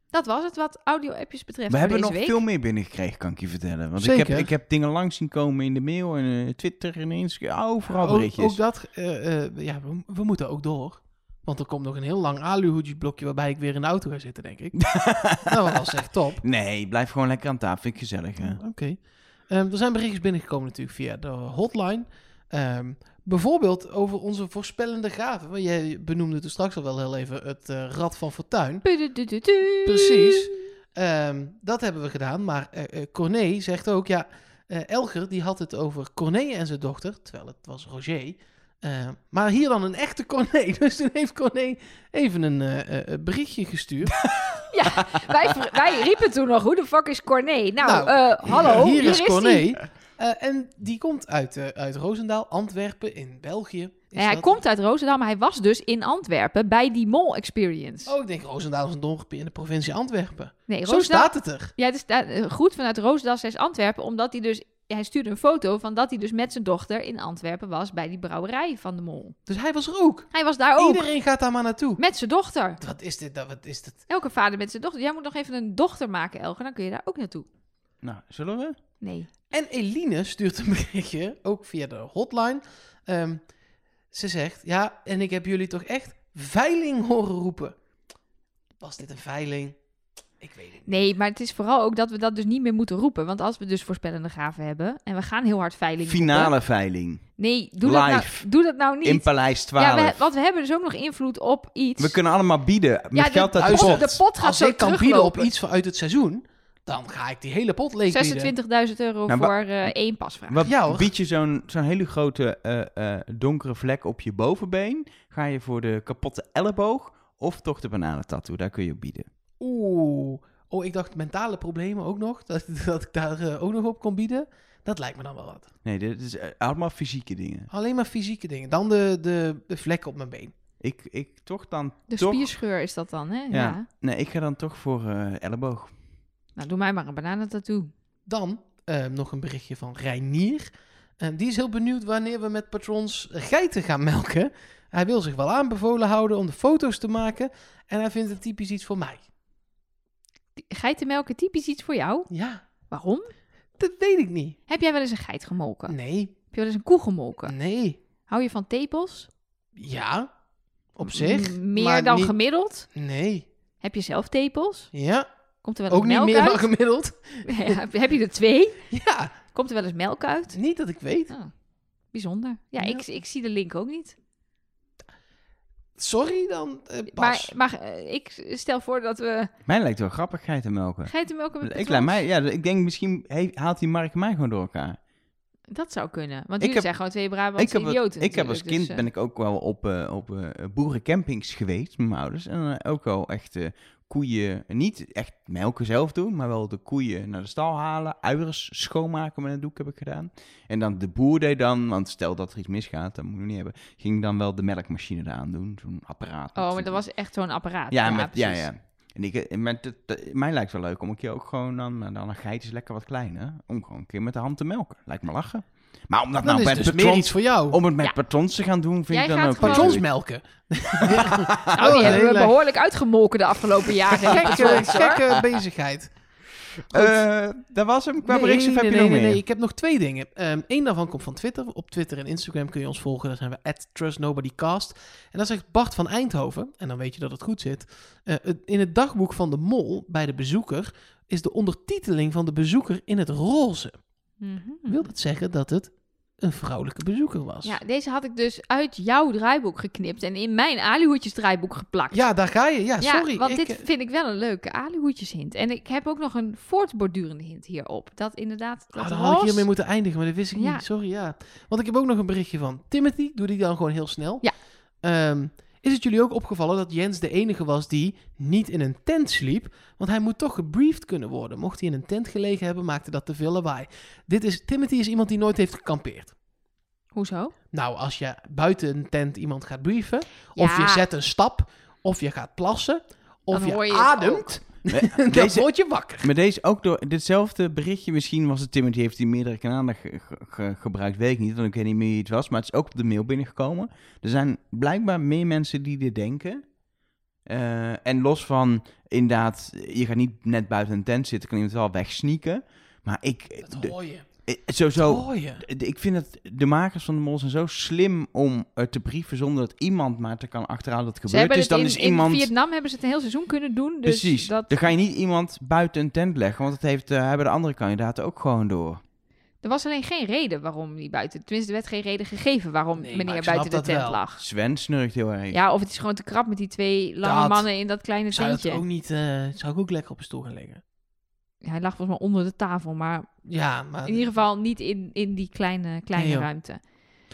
Speaker 2: Dat was het wat audio-appjes
Speaker 3: We
Speaker 2: betreft. voor
Speaker 3: hebben nog
Speaker 2: deze week.
Speaker 3: veel meer binnengekregen, kan ik je vertellen. Want ik heb,
Speaker 1: Zeker.
Speaker 3: ik heb dingen langs zien komen in de mail en eh, Twitter en Instagram. Overal
Speaker 1: Ook,
Speaker 3: berichtjes.
Speaker 1: ook dat, eh, eh, ja, we, we moeten ook door. Want er komt nog een heel lang aluhoedje blokje waarbij ik weer in de auto ga zitten, denk ik. nou, want dat is echt top.
Speaker 3: [laughs] Nee, blijf gewoon lekker aan tafel. Vind ik gezellig. hè.
Speaker 1: Oké. Ehm, er zijn berichtjes binnengekomen natuurlijk via de hotline. Ehm, bijvoorbeeld over onze voorspellende gaven. Want Jij benoemde het straks al wel heel even het eh, Rad van Fortuin.
Speaker 2: Pududududu.
Speaker 1: Precies. Ehm, dat hebben we gedaan. Maar eh eh, Corné zegt ook, ja, eh, Elger die had het over Corné en zijn dochter, terwijl het was Roger. Ehm, maar hier dan een echte Corné. [laughs] Dus toen heeft Corné even een eh, eh, eh, berichtje gestuurd.
Speaker 2: Ja, wij,
Speaker 1: [laughs]
Speaker 2: vr- wij riepen toen nog, hoe de fuck is Corné? Nou,
Speaker 1: Nou,
Speaker 2: eh, hallo,
Speaker 1: hier, is Corné.
Speaker 2: hij.
Speaker 1: Eh, en die komt uit, eh, uit Roosendaal, Antwerpen in België. Is
Speaker 2: Ja, hij
Speaker 1: dat-
Speaker 2: komt uit Roosendaal, maar hij was dus in Antwerpen bij die Mol Experience.
Speaker 1: Oh, ik denk Roosendaal is een dorp in de provincie Antwerpen.
Speaker 2: nee,
Speaker 1: Zo staat het er.
Speaker 2: Ja, het is da- eh, goed vanuit Roosendaal 6 Antwerpen, omdat hij dus... Hij stuurde een foto van dat hij dus met zijn dochter in Antwerpen was bij die brouwerij van de Mol.
Speaker 1: Dus hij was er ook.
Speaker 2: Hij was daar ook
Speaker 1: Iedereen gaat daar maar naartoe.
Speaker 2: met zijn dochter.
Speaker 1: Wat is dit? nou, Wat is dit?
Speaker 2: Elke vader met zijn dochter. Jij moet nog even een dochter maken, Elger, dan kun je daar ook naartoe.
Speaker 3: Nou, zullen we?
Speaker 2: Nee.
Speaker 1: En Eline stuurt een berichtje, ook via de hotline. Ehm, ze zegt, ja, en ik heb jullie toch echt veiling horen roepen. Was dit een veiling? Ik weet het niet.
Speaker 2: Nee, maar het is vooral ook dat we dat dus niet meer moeten roepen. Want als we dus voorspellende gaven hebben en we gaan heel hard veiling roepen-
Speaker 3: Finale veiling.
Speaker 2: Nee, doe dat, nou,
Speaker 3: Live.
Speaker 2: doe dat nou niet.
Speaker 3: In Paleis 12.
Speaker 2: ja, we,
Speaker 3: we,
Speaker 2: want we hebben dus ook nog invloed op iets.
Speaker 3: kunnen allemaal bieden. Met
Speaker 2: ja,
Speaker 3: geld
Speaker 2: de,
Speaker 3: uit de
Speaker 1: pot-
Speaker 3: pot.
Speaker 2: de pot gaat
Speaker 1: Als
Speaker 2: zo
Speaker 1: ik kan bieden op
Speaker 2: teruglopen.
Speaker 1: iets vanuit het seizoen, dan ga ik die hele pot leeg bieden.
Speaker 2: 26.000 euro
Speaker 3: Nou, wa-
Speaker 2: voor eh, één pasvraag.
Speaker 3: Wat
Speaker 1: Ja, hoor.
Speaker 3: bied je zo'n zo'n hele grote eh, eh, donkere vlek op je bovenbeen? Ga je voor de kapotte elleboog of toch de bananentattoo? Daar kun je op bieden.
Speaker 1: Oeh. Oh, ik dacht mentale problemen ook nog. Dat, [laughs] dat ik daar eh, ook nog op kon bieden. Dat lijkt me dan wel wat.
Speaker 3: Nee, dit is eh, allemaal fysieke dingen.
Speaker 1: Alleen maar fysieke dingen. Dan de, de, de vlekken op mijn been.
Speaker 3: Ik, ik toch dan
Speaker 2: De
Speaker 3: toch...
Speaker 2: spierscheur is dat dan, hè? Ja.
Speaker 3: Ja. Nee, ik ga dan toch voor eh, elleboog.
Speaker 2: Nou, doe mij maar een bananentattoo.
Speaker 1: Dan eh, nog een berichtje van Reinier. Eh, die is heel benieuwd wanneer we met patrons geiten gaan melken. Hij wil zich wel aanbevolen houden om de foto's te maken. En hij vindt het typisch iets voor mij.
Speaker 2: Die- Geitenmelken, typisch iets voor jou.
Speaker 1: Ja,
Speaker 2: Waarom?
Speaker 1: dat weet ik niet.
Speaker 2: Heb jij wel eens een geit gemolken?
Speaker 1: Nee,
Speaker 2: Heb je wel eens een koe gemolken?
Speaker 1: nee.
Speaker 2: Hou je van tepels?
Speaker 1: Ja, op zich.
Speaker 2: M- meer
Speaker 1: maar
Speaker 2: dan
Speaker 1: niet-
Speaker 2: gemiddeld?
Speaker 1: Nee,
Speaker 2: Heb je zelf tepels?
Speaker 1: ja.
Speaker 2: Komt er wel eens
Speaker 1: Ook niet
Speaker 2: melk
Speaker 1: meer dan
Speaker 2: uit? [laughs]
Speaker 1: gemiddeld. [laughs]
Speaker 2: Heb- Heb je er twee?
Speaker 1: Ja,
Speaker 2: Komt er wel eens melk uit?
Speaker 1: Niet dat ik weet.
Speaker 2: Oh, bijzonder. Ja,
Speaker 1: Ja.
Speaker 2: Ik, ik zie de link ook niet.
Speaker 1: Sorry dan, eh,
Speaker 2: Maar,
Speaker 1: Bas.
Speaker 2: maar eh, ik stel voor dat we
Speaker 3: Mij lijkt wel grappig geitenmelken.
Speaker 2: geitenmelken met
Speaker 3: Ik,
Speaker 2: patrons-
Speaker 3: laat mij, ja, ik denk misschien he- haalt die Mark mij gewoon door elkaar.
Speaker 2: Dat zou kunnen. Want
Speaker 3: Ik
Speaker 2: jullie
Speaker 3: heb-
Speaker 2: zijn gewoon twee
Speaker 3: ik,
Speaker 2: Brabantse
Speaker 3: heb,
Speaker 2: idioten.
Speaker 3: ik heb als
Speaker 2: natuurlijk, dus,
Speaker 3: kind
Speaker 2: eh,
Speaker 3: ben ik ook wel op, eh, op eh, boerencampings geweest met mijn ouders. En dan ook wel echt eh, koeien, niet echt melken zelf doen, maar wel de koeien naar de stal halen. Uiers schoonmaken met een doek heb ik gedaan. En dan de boer deed dan, want stel dat er iets misgaat, dat moet je niet hebben. Ging dan wel de melkmachine eraan doen, zo'n apparaat.
Speaker 2: Oh, maar
Speaker 3: met-
Speaker 2: dat was echt zo'n apparaat.
Speaker 3: Ja, met, ja,
Speaker 2: precies.
Speaker 3: ja. En ik, eh, maar dat, dat- mij lijkt wel leuk om een keer ook gewoon dan, maar dan een geit is lekker wat kleiner, om gewoon een keer met de hand te melken. Lijkt me lachen. Maar om dat
Speaker 1: Dan
Speaker 3: nou
Speaker 1: is
Speaker 3: met
Speaker 1: het dus meer
Speaker 3: patrons-
Speaker 1: iets voor jou.
Speaker 3: om het met
Speaker 2: Ja.
Speaker 3: patrons te gaan doen, vind
Speaker 2: Jij
Speaker 3: ik dan
Speaker 2: gaat
Speaker 3: ook...
Speaker 2: gewoon-
Speaker 1: Patrons melken. Oh,
Speaker 2: Nou, die hebben we
Speaker 1: hele-
Speaker 2: behoorlijk uitgemolken de afgelopen jaren.
Speaker 1: Gekke,
Speaker 2: patrons, hoor.
Speaker 1: eh, gekke bezigheid.
Speaker 3: Eh, dat was hem. Qua
Speaker 1: Nee,
Speaker 3: berichtjes
Speaker 1: nee,
Speaker 3: heb je
Speaker 1: nee,
Speaker 3: nog
Speaker 1: nee,
Speaker 3: meer.
Speaker 1: nee, ik heb nog twee dingen. Eén daarvan komt van Twitter. Op Twitter en Instagram kun je ons volgen. Daar zijn we at trustnobodycast. En dan zegt Bart van Eindhoven, en dan weet je dat het goed zit. eh, het- in het dagboek van de mol bij de bezoeker is de ondertiteling van de bezoeker in het roze.
Speaker 3: Mhm.
Speaker 2: Mhm.
Speaker 1: Wil dat zeggen dat het een vrouwelijke bezoeker was?
Speaker 2: Hm. Ja, deze had ik dus uit jouw draaiboek geknipt en in mijn Alihoedjes draaiboek geplakt.
Speaker 1: Ja, daar ga je. Ja, sorry.
Speaker 2: want
Speaker 1: ik,
Speaker 2: dit
Speaker 1: eh,
Speaker 2: vind ik wel een leuke Alihoedjes hint. En ik heb ook nog een voortbordurende hint hierop. Dat inderdaad...
Speaker 1: Ah,
Speaker 2: Dat
Speaker 1: dan had ik
Speaker 2: roze-
Speaker 1: hiermee moeten eindigen, maar dat wist ik
Speaker 2: Ja.
Speaker 1: niet. Sorry, ja. Want ik heb ook nog een berichtje van Timothy. Doe die dan gewoon heel snel.
Speaker 2: Ja.
Speaker 1: Ehm, is het jullie ook opgevallen dat Jens de enige was die niet in een tent sliep? Want hij moet toch gebriefd kunnen worden. Mocht hij in een tent gelegen hebben, maakte dat te veel lawaai. Dit is, Timothy is iemand die nooit heeft gekampeerd.
Speaker 2: Hoezo?
Speaker 1: Nou, als je buiten een tent iemand gaat brieven, of
Speaker 2: Ja.
Speaker 1: je zet een stap, of je gaat plassen, of
Speaker 2: Dan
Speaker 1: je,
Speaker 2: hoor je het
Speaker 1: ademt, [laughs] dan
Speaker 3: Deze-
Speaker 1: word je wakker.
Speaker 3: Maar deze ook door ditzelfde berichtje, misschien was het Tim, die heeft die meerdere kanalen ge- ge- ge- gebruikt, weet ik niet, want ik weet niet meer wie het was, maar het is ook op de mail binnengekomen. Er zijn blijkbaar meer mensen die dit denken. Eh, en los van, inderdaad, je gaat niet net buiten een tent zitten, kan iemand wel wegsneaken. Maar ik,
Speaker 1: Dat
Speaker 3: de-
Speaker 1: hoor je.
Speaker 3: eh,
Speaker 1: Dat
Speaker 3: sowieso,
Speaker 1: hoor je.
Speaker 3: de- ik vind dat de makers van de mol zijn zo slim om eh, te brieven zonder dat iemand maar te kan achterhalen dat het
Speaker 2: Ze
Speaker 3: gebeurd
Speaker 2: hebben
Speaker 3: is.
Speaker 2: het
Speaker 3: Dan
Speaker 2: in,
Speaker 1: dus
Speaker 3: is
Speaker 2: in
Speaker 3: iemand...
Speaker 2: Vietnam hebben ze het een heel seizoen kunnen doen. Dus
Speaker 3: Precies.
Speaker 2: Dat,
Speaker 3: Dan ga je niet iemand buiten een tent leggen, want dat heeft, eh, hebben de andere kandidaten ook gewoon door.
Speaker 2: er was alleen geen reden waarom die buiten... Tenminste, er werd geen reden gegeven waarom
Speaker 1: Nee, maar
Speaker 2: meneer
Speaker 1: ik snap
Speaker 2: buiten de
Speaker 1: dat
Speaker 2: tent
Speaker 1: wel.
Speaker 2: lag.
Speaker 3: Sven snurkt heel erg.
Speaker 2: Ja, of het is gewoon te krap met die twee lange
Speaker 1: Dat-
Speaker 2: mannen in dat kleine
Speaker 1: Zou dat
Speaker 2: tentje.
Speaker 1: ook niet, eh, zou ik ook lekker op een stoel gaan liggen?
Speaker 2: Hij lag volgens mij onder de tafel, maar
Speaker 1: Ja, maar
Speaker 2: in ieder geval niet in, in die kleine, kleine
Speaker 1: Nee, joh.
Speaker 2: ruimte.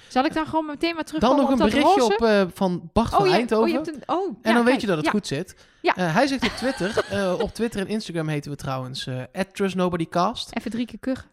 Speaker 2: Zal ik dan gewoon meteen maar terugkomen
Speaker 1: dan nog een
Speaker 2: op dat
Speaker 1: berichtje
Speaker 2: roze?
Speaker 1: op eh, van Bart van
Speaker 2: oh, je,
Speaker 1: Eindhoven.
Speaker 2: oh, je hebt een, oh,
Speaker 1: En dan weet je dat het
Speaker 2: ja.
Speaker 1: goed zit.
Speaker 2: Ja.
Speaker 1: Eh, hij zegt op Twitter, [laughs] eh, op Twitter en Instagram heten we trouwens eh @trustnobodycast.
Speaker 2: [laughs] Even drie keer kuchen.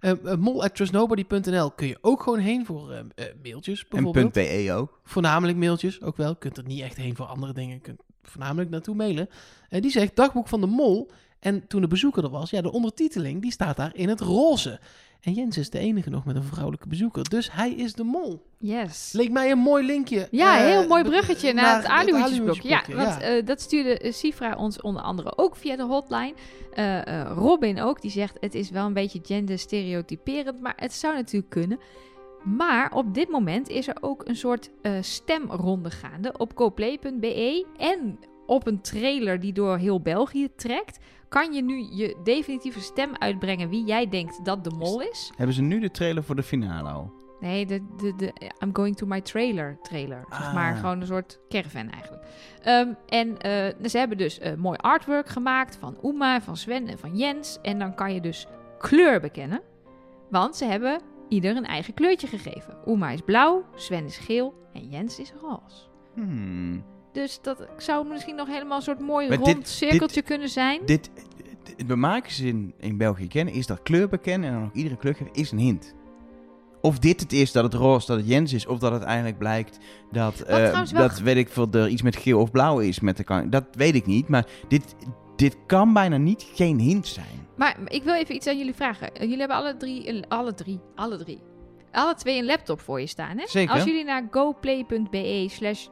Speaker 1: Eh, eh, mol@trustnobody.nl kun je ook gewoon heen voor eh, eh, mailtjes
Speaker 3: en
Speaker 1: bijvoorbeeld.
Speaker 3: punt E .be ook.
Speaker 1: Voornamelijk mailtjes, ook wel. Je kunt er niet echt heen voor andere dingen. Je kunt voornamelijk naartoe mailen. Eh, die zegt, dagboek van de mol. En toen de bezoeker er was, ja, de ondertiteling, die staat daar in het roze. En Jens is de enige nog met een vrouwelijke bezoeker. Dus hij is de mol.
Speaker 2: Yes.
Speaker 1: Leek mij een mooi linkje.
Speaker 2: Ja,
Speaker 1: eh,
Speaker 2: heel mooi
Speaker 1: be-
Speaker 2: bruggetje naar, het Aluhoedjesblok. Ja,
Speaker 1: Aluhoedjesblokje,
Speaker 2: want eh, dat stuurde eh, Sifra ons onder andere ook via de hotline. Eh, eh, Robin ook, die zegt het is wel een beetje genderstereotyperend, maar het zou natuurlijk kunnen. Maar op dit moment is er ook een soort eh, stemronde gaande op coplay.be E. en op een trailer die door heel België trekt. Kan je nu je definitieve stem uitbrengen wie jij denkt dat de mol is?
Speaker 3: Hebben ze nu de trailer voor de finale al?
Speaker 2: Nee, de, de, de I'm going to my trailer trailer. Zeg maar
Speaker 3: Ah.
Speaker 2: gewoon een soort caravan eigenlijk. Ehm, en eh, ze hebben dus eh, mooi artwork gemaakt van Uma, van Sven en van Jens. En dan kan je dus kleur bekennen. Want ze hebben ieder een eigen kleurtje gegeven. Uma is blauw, Sven is geel en Jens is roze.
Speaker 3: Hmm.
Speaker 2: Dus dat zou misschien nog helemaal een soort mooi
Speaker 3: Maar dit-
Speaker 2: rond cirkeltje kunnen zijn.
Speaker 3: Dit, dit- het bemakers in, in België kennen is dat kleur bekennen en dan ook iedere kleur geven is een hint. Of dit het is, dat het roze, dat het Jens is, of dat het eigenlijk blijkt dat, eh,
Speaker 2: trouwens wel
Speaker 3: dat
Speaker 2: ge-
Speaker 3: weet ik veel, er iets met geel of blauw is. Met de kan dat weet ik niet, maar dit, dit kan bijna niet geen hint zijn.
Speaker 2: Maar ik wil even iets aan jullie vragen. Eh, Jullie hebben alle drie, een- alle drie, alle drie, alle twee een laptop voor je staan, hè?
Speaker 3: Zeker.
Speaker 2: Als jullie naar goplay.be slash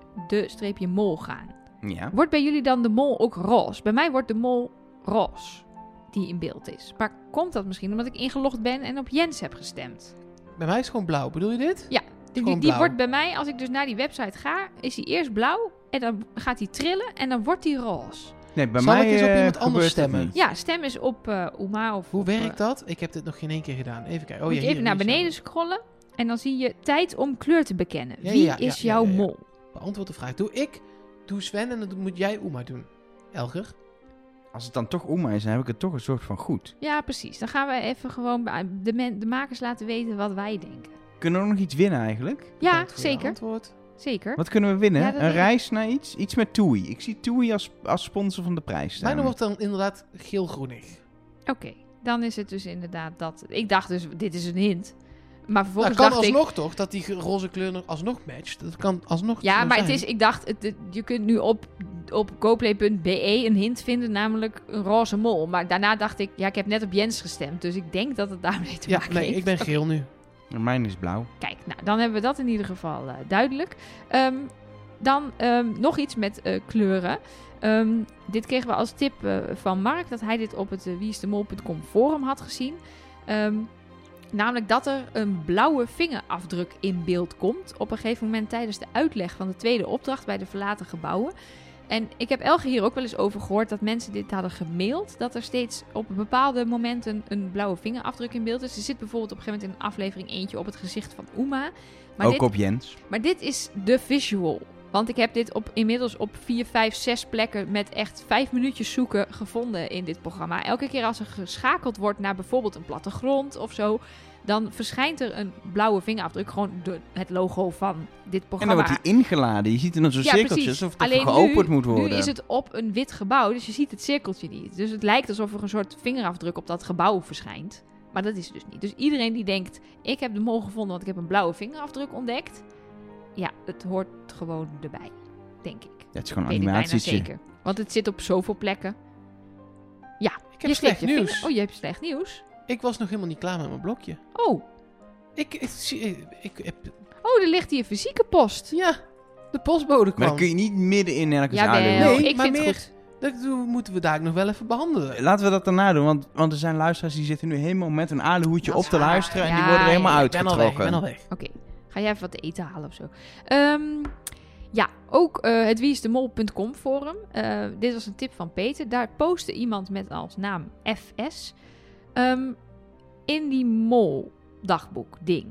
Speaker 2: de-mol gaan,
Speaker 3: Ja.
Speaker 2: wordt bij jullie dan de mol ook roze? Bij mij wordt de mol roze, die in beeld is. Maar komt dat misschien omdat ik ingelogd ben en op Jens heb gestemd?
Speaker 1: Bij mij is het gewoon blauw. Bedoel je dit?
Speaker 2: Ja, die,
Speaker 1: Gewoon
Speaker 2: die, die
Speaker 1: blauw.
Speaker 2: wordt bij mij, als ik dus naar die website ga, is die eerst blauw en dan gaat die trillen en dan wordt die roze.
Speaker 3: Nee, bij
Speaker 1: Zal
Speaker 3: mij
Speaker 1: ik eens op
Speaker 3: eh,
Speaker 1: iemand anders
Speaker 3: gebeurt dat
Speaker 1: stemmen?
Speaker 3: niet.
Speaker 2: Ja, stem eens op eh Uma of
Speaker 1: Hoe
Speaker 2: op, eh,
Speaker 1: werkt dat? Ik heb dit nog geen één keer gedaan. Even kijken. Oh,
Speaker 2: Moet
Speaker 1: ja,
Speaker 2: je even
Speaker 1: hier,
Speaker 2: naar
Speaker 1: hier
Speaker 2: beneden
Speaker 1: zo.
Speaker 2: scrollen en dan zie je tijd om kleur te bekennen.
Speaker 1: Ja,
Speaker 2: Wie
Speaker 1: ja, ja,
Speaker 2: is
Speaker 1: ja,
Speaker 2: jouw
Speaker 1: ja, ja.
Speaker 2: mol?
Speaker 1: Beantwoord de vraag. Doe ik, doe Sven en dan moet jij Oema doen. Elger?
Speaker 3: Als het dan toch Oema is, dan heb ik het toch een soort van goed.
Speaker 2: Ja, precies. Dan gaan we even gewoon bij- de, men- de makers laten weten wat wij denken.
Speaker 3: Kunnen we nog iets winnen eigenlijk?
Speaker 2: Ja,
Speaker 1: Bedankt voor je
Speaker 2: zeker.
Speaker 1: Antwoord.
Speaker 2: Zeker.
Speaker 3: Wat kunnen we winnen?
Speaker 2: Ja, dat
Speaker 3: een
Speaker 2: weet ik.
Speaker 3: reis naar iets? Iets met Toei. Ik zie Toei als, als sponsor van de prijs staan.
Speaker 1: Mijn wordt dan inderdaad
Speaker 2: Nou,
Speaker 1: geel-groenig.
Speaker 2: Oké, dan is het dus inderdaad dat. Ik dacht dus, dit is een hint. Maar vervolgens
Speaker 1: nou, kan
Speaker 2: dacht ik...
Speaker 1: alsnog toch dat die roze kleur nog- alsnog matcht. Dat kan alsnog
Speaker 2: Ja,
Speaker 1: zo
Speaker 2: maar het
Speaker 1: zijn.
Speaker 2: is, ik dacht, het, het- je kunt nu op, op goplay.be een hint vinden, namelijk een roze mol. Maar daarna dacht ik, ja, ik heb net op Jens gestemd, dus ik denk dat het daarmee te
Speaker 1: Ja,
Speaker 2: maken
Speaker 1: nee,
Speaker 2: heeft.
Speaker 1: ik ben geel nu.
Speaker 3: Mijn is blauw.
Speaker 2: Kijk, nou, dan hebben we dat in ieder geval eh, duidelijk. Ehm, dan ehm, nog iets met eh, kleuren. Ehm, dit kregen we als tip eh, van Mark, dat hij dit op het uh, forum had gezien. Ehm, namelijk dat er een blauwe vingerafdruk in beeld komt op een gegeven moment tijdens de uitleg van de tweede opdracht bij de verlaten gebouwen. En ik heb Elge hier ook wel eens over gehoord dat mensen dit hadden gemaild. Dat er steeds op bepaalde momenten een blauwe vingerafdruk in beeld is. Er zit bijvoorbeeld op een gegeven moment in een aflevering eentje op het gezicht van Uma. Maar
Speaker 3: ook
Speaker 2: dit,
Speaker 3: op Jens.
Speaker 2: maar dit is de visual. Want ik heb dit op, inmiddels op 4, 5, 6 plekken met echt 5 minuutjes zoeken gevonden in dit programma. Elke keer als er geschakeld wordt naar bijvoorbeeld een plattegrond of zo, dan verschijnt er een blauwe vingerafdruk. Gewoon de, het logo van dit
Speaker 3: En
Speaker 2: programma.
Speaker 3: dan wordt hij ingeladen. Je ziet in zo'n cirkeltjes of het
Speaker 2: Alleen
Speaker 3: even geopend
Speaker 2: nu,
Speaker 3: moet worden.
Speaker 2: Nu is het op een wit gebouw, dus je ziet het cirkeltje niet. Dus het lijkt alsof er een soort vingerafdruk op dat gebouw verschijnt. Maar dat is het dus niet. Dus iedereen die denkt, ik heb de mol gevonden, want ik heb een blauwe vingerafdruk ontdekt. Ja, het hoort gewoon erbij, denk ik.
Speaker 3: Ja, het is gewoon een
Speaker 2: Weet ik bijna
Speaker 3: animatietje.
Speaker 2: zeker. Want het zit op zoveel plekken. Ja,
Speaker 1: Ik
Speaker 2: je
Speaker 1: heb
Speaker 2: steekt
Speaker 1: slecht
Speaker 2: je vinger-
Speaker 1: nieuws.
Speaker 2: Oh, je hebt slecht nieuws?
Speaker 1: Ik was nog helemaal niet klaar met mijn blokje.
Speaker 2: Oh,
Speaker 1: Ik, ik, zie- ik, ik heb...
Speaker 2: oh er ligt hier fysieke post.
Speaker 1: Ja, de postbode
Speaker 3: Maar
Speaker 1: kwam.
Speaker 3: dan kun je niet midden in ergens
Speaker 2: Jawel, Oh,
Speaker 3: aandoen.
Speaker 1: Nee,
Speaker 2: ik
Speaker 1: maar
Speaker 2: vind
Speaker 1: meer-
Speaker 2: het goed.
Speaker 1: Dat doen- moeten we daar nog wel even behandelen.
Speaker 3: Laten we dat daarna doen, want, want er zijn luisteraars die zitten nu helemaal met een aluhoedje
Speaker 1: Dat
Speaker 3: op
Speaker 1: is
Speaker 3: te
Speaker 1: waar.
Speaker 3: luisteren. En
Speaker 2: Ja,
Speaker 3: die worden er helemaal
Speaker 2: ja,
Speaker 1: ik ben al weg, ik ben al
Speaker 3: uitgetrokken.
Speaker 1: weg.
Speaker 2: Oké, ga jij even wat te eten halen of zo. Ehm, ja, ook eh het wieisdemol.com forum. Eh, dit was een tip van Peter. Daar postte iemand met als naam FS. Ehm, in die mol dagboek ding.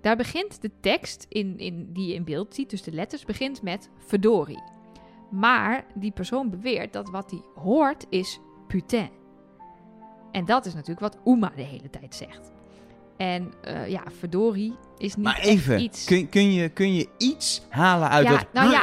Speaker 2: Daar begint de tekst in, in, die je in beeld ziet, dus de letters, begint met verdorie. Maar die persoon beweert dat wat hij hoort is putain. En dat is natuurlijk wat Uma de hele tijd zegt. En eh, ja, verdorie is niet
Speaker 3: Maar
Speaker 2: echt
Speaker 3: even,
Speaker 2: iets.
Speaker 3: kun, kun, je, kun je iets halen uit
Speaker 2: Ja,
Speaker 3: dat...
Speaker 2: nou ja,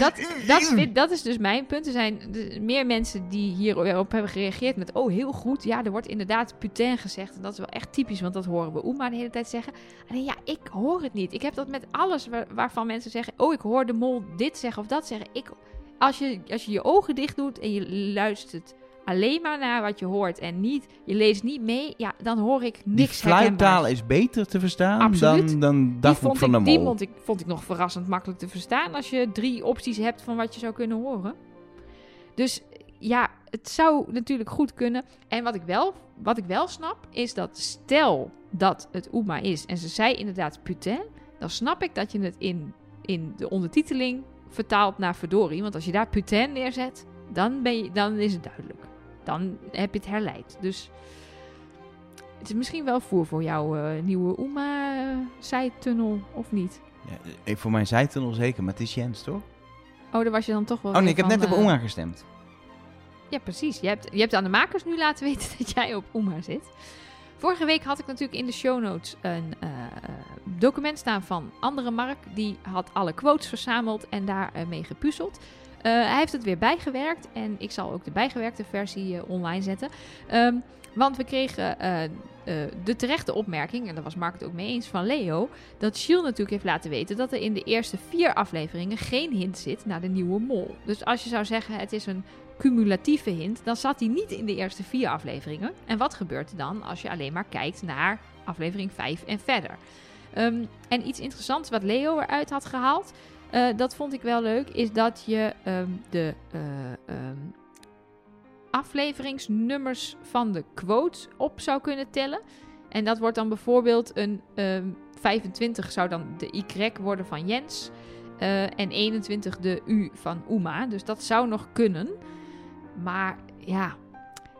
Speaker 2: Dat, dat, is, weer- dat is dus mijn punt. Er zijn de- meer mensen die hierop hebben gereageerd met... oh, heel goed, ja, er wordt inderdaad putain gezegd. En dat is wel echt typisch, want dat horen we Oema de hele tijd zeggen. Alleen ja, ik hoor het niet. Ik heb dat met alles waar- waarvan mensen zeggen... oh, ik hoor de mol dit zeggen of dat zeggen. Ik, als, je, als je je ogen dicht doet en je luistert alleen maar naar wat je hoort... en niet, je leest niet mee, ja, dan hoor ik
Speaker 3: Die
Speaker 2: niks
Speaker 3: fluittaal
Speaker 2: herkenbaars.
Speaker 3: is beter te verstaan
Speaker 2: Absoluut.
Speaker 3: dan, dan
Speaker 2: Die
Speaker 3: dagboek
Speaker 2: vond,
Speaker 3: van de
Speaker 2: ik, die
Speaker 3: mol.
Speaker 2: vond ik, vond ik nog verrassend makkelijk te verstaan als je drie opties hebt van wat je zou kunnen horen. Dus ja, het zou natuurlijk goed kunnen. En wat ik wel, wat ik wel snap, is dat stel dat het Oema is en ze zei inderdaad putain, dan snap ik dat je het in, in de ondertiteling vertaalt naar verdorie. Want als je daar putain neerzet, dan, ben je, dan is het duidelijk. Dan heb je het herleid. Dus het is misschien wel voer voor jouw eh, nieuwe Oema-zijtunnel, of niet?
Speaker 3: Ja, eh, voor mij zei het er nog zeker, maar het is Jens, toch?
Speaker 2: Oh, daar was je dan toch wel
Speaker 3: Oh nee,
Speaker 2: weer
Speaker 3: ik heb
Speaker 2: van,
Speaker 3: net op
Speaker 2: eh,
Speaker 3: Onga gestemd.
Speaker 2: Ja, precies. Je hebt, je hebt aan de makers nu laten weten [laughs] dat jij op Oema zit. Vorige week had ik natuurlijk in de show notes een eh, eh, document staan van andere Mark. Die had alle quotes verzameld en daarmee mee gepuzzeld. Eh, hij heeft het weer bijgewerkt en ik zal ook de bijgewerkte versie eh, online zetten. Ehm, want we kregen eh, eh, de terechte opmerking, en daar was Mark het ook mee eens, van Leo... dat Shield natuurlijk heeft laten weten dat er in de eerste vier afleveringen geen hint zit naar de nieuwe mol. Dus als je zou zeggen het is een cumulatieve hint, dan zat hij niet in de eerste vier afleveringen. En wat gebeurt er dan als je alleen maar kijkt naar aflevering 5 en verder? Ehm, en iets interessants wat Leo eruit had gehaald, eh, dat vond ik wel leuk, is dat je ehm, de eh, ehm, afleveringsnummers van de quotes op zou kunnen tellen. En dat wordt dan bijvoorbeeld een ehm, 25 zou dan de Y worden van Jens. eh, en 21 de U van Uma. Dus dat zou nog kunnen. Maar ja,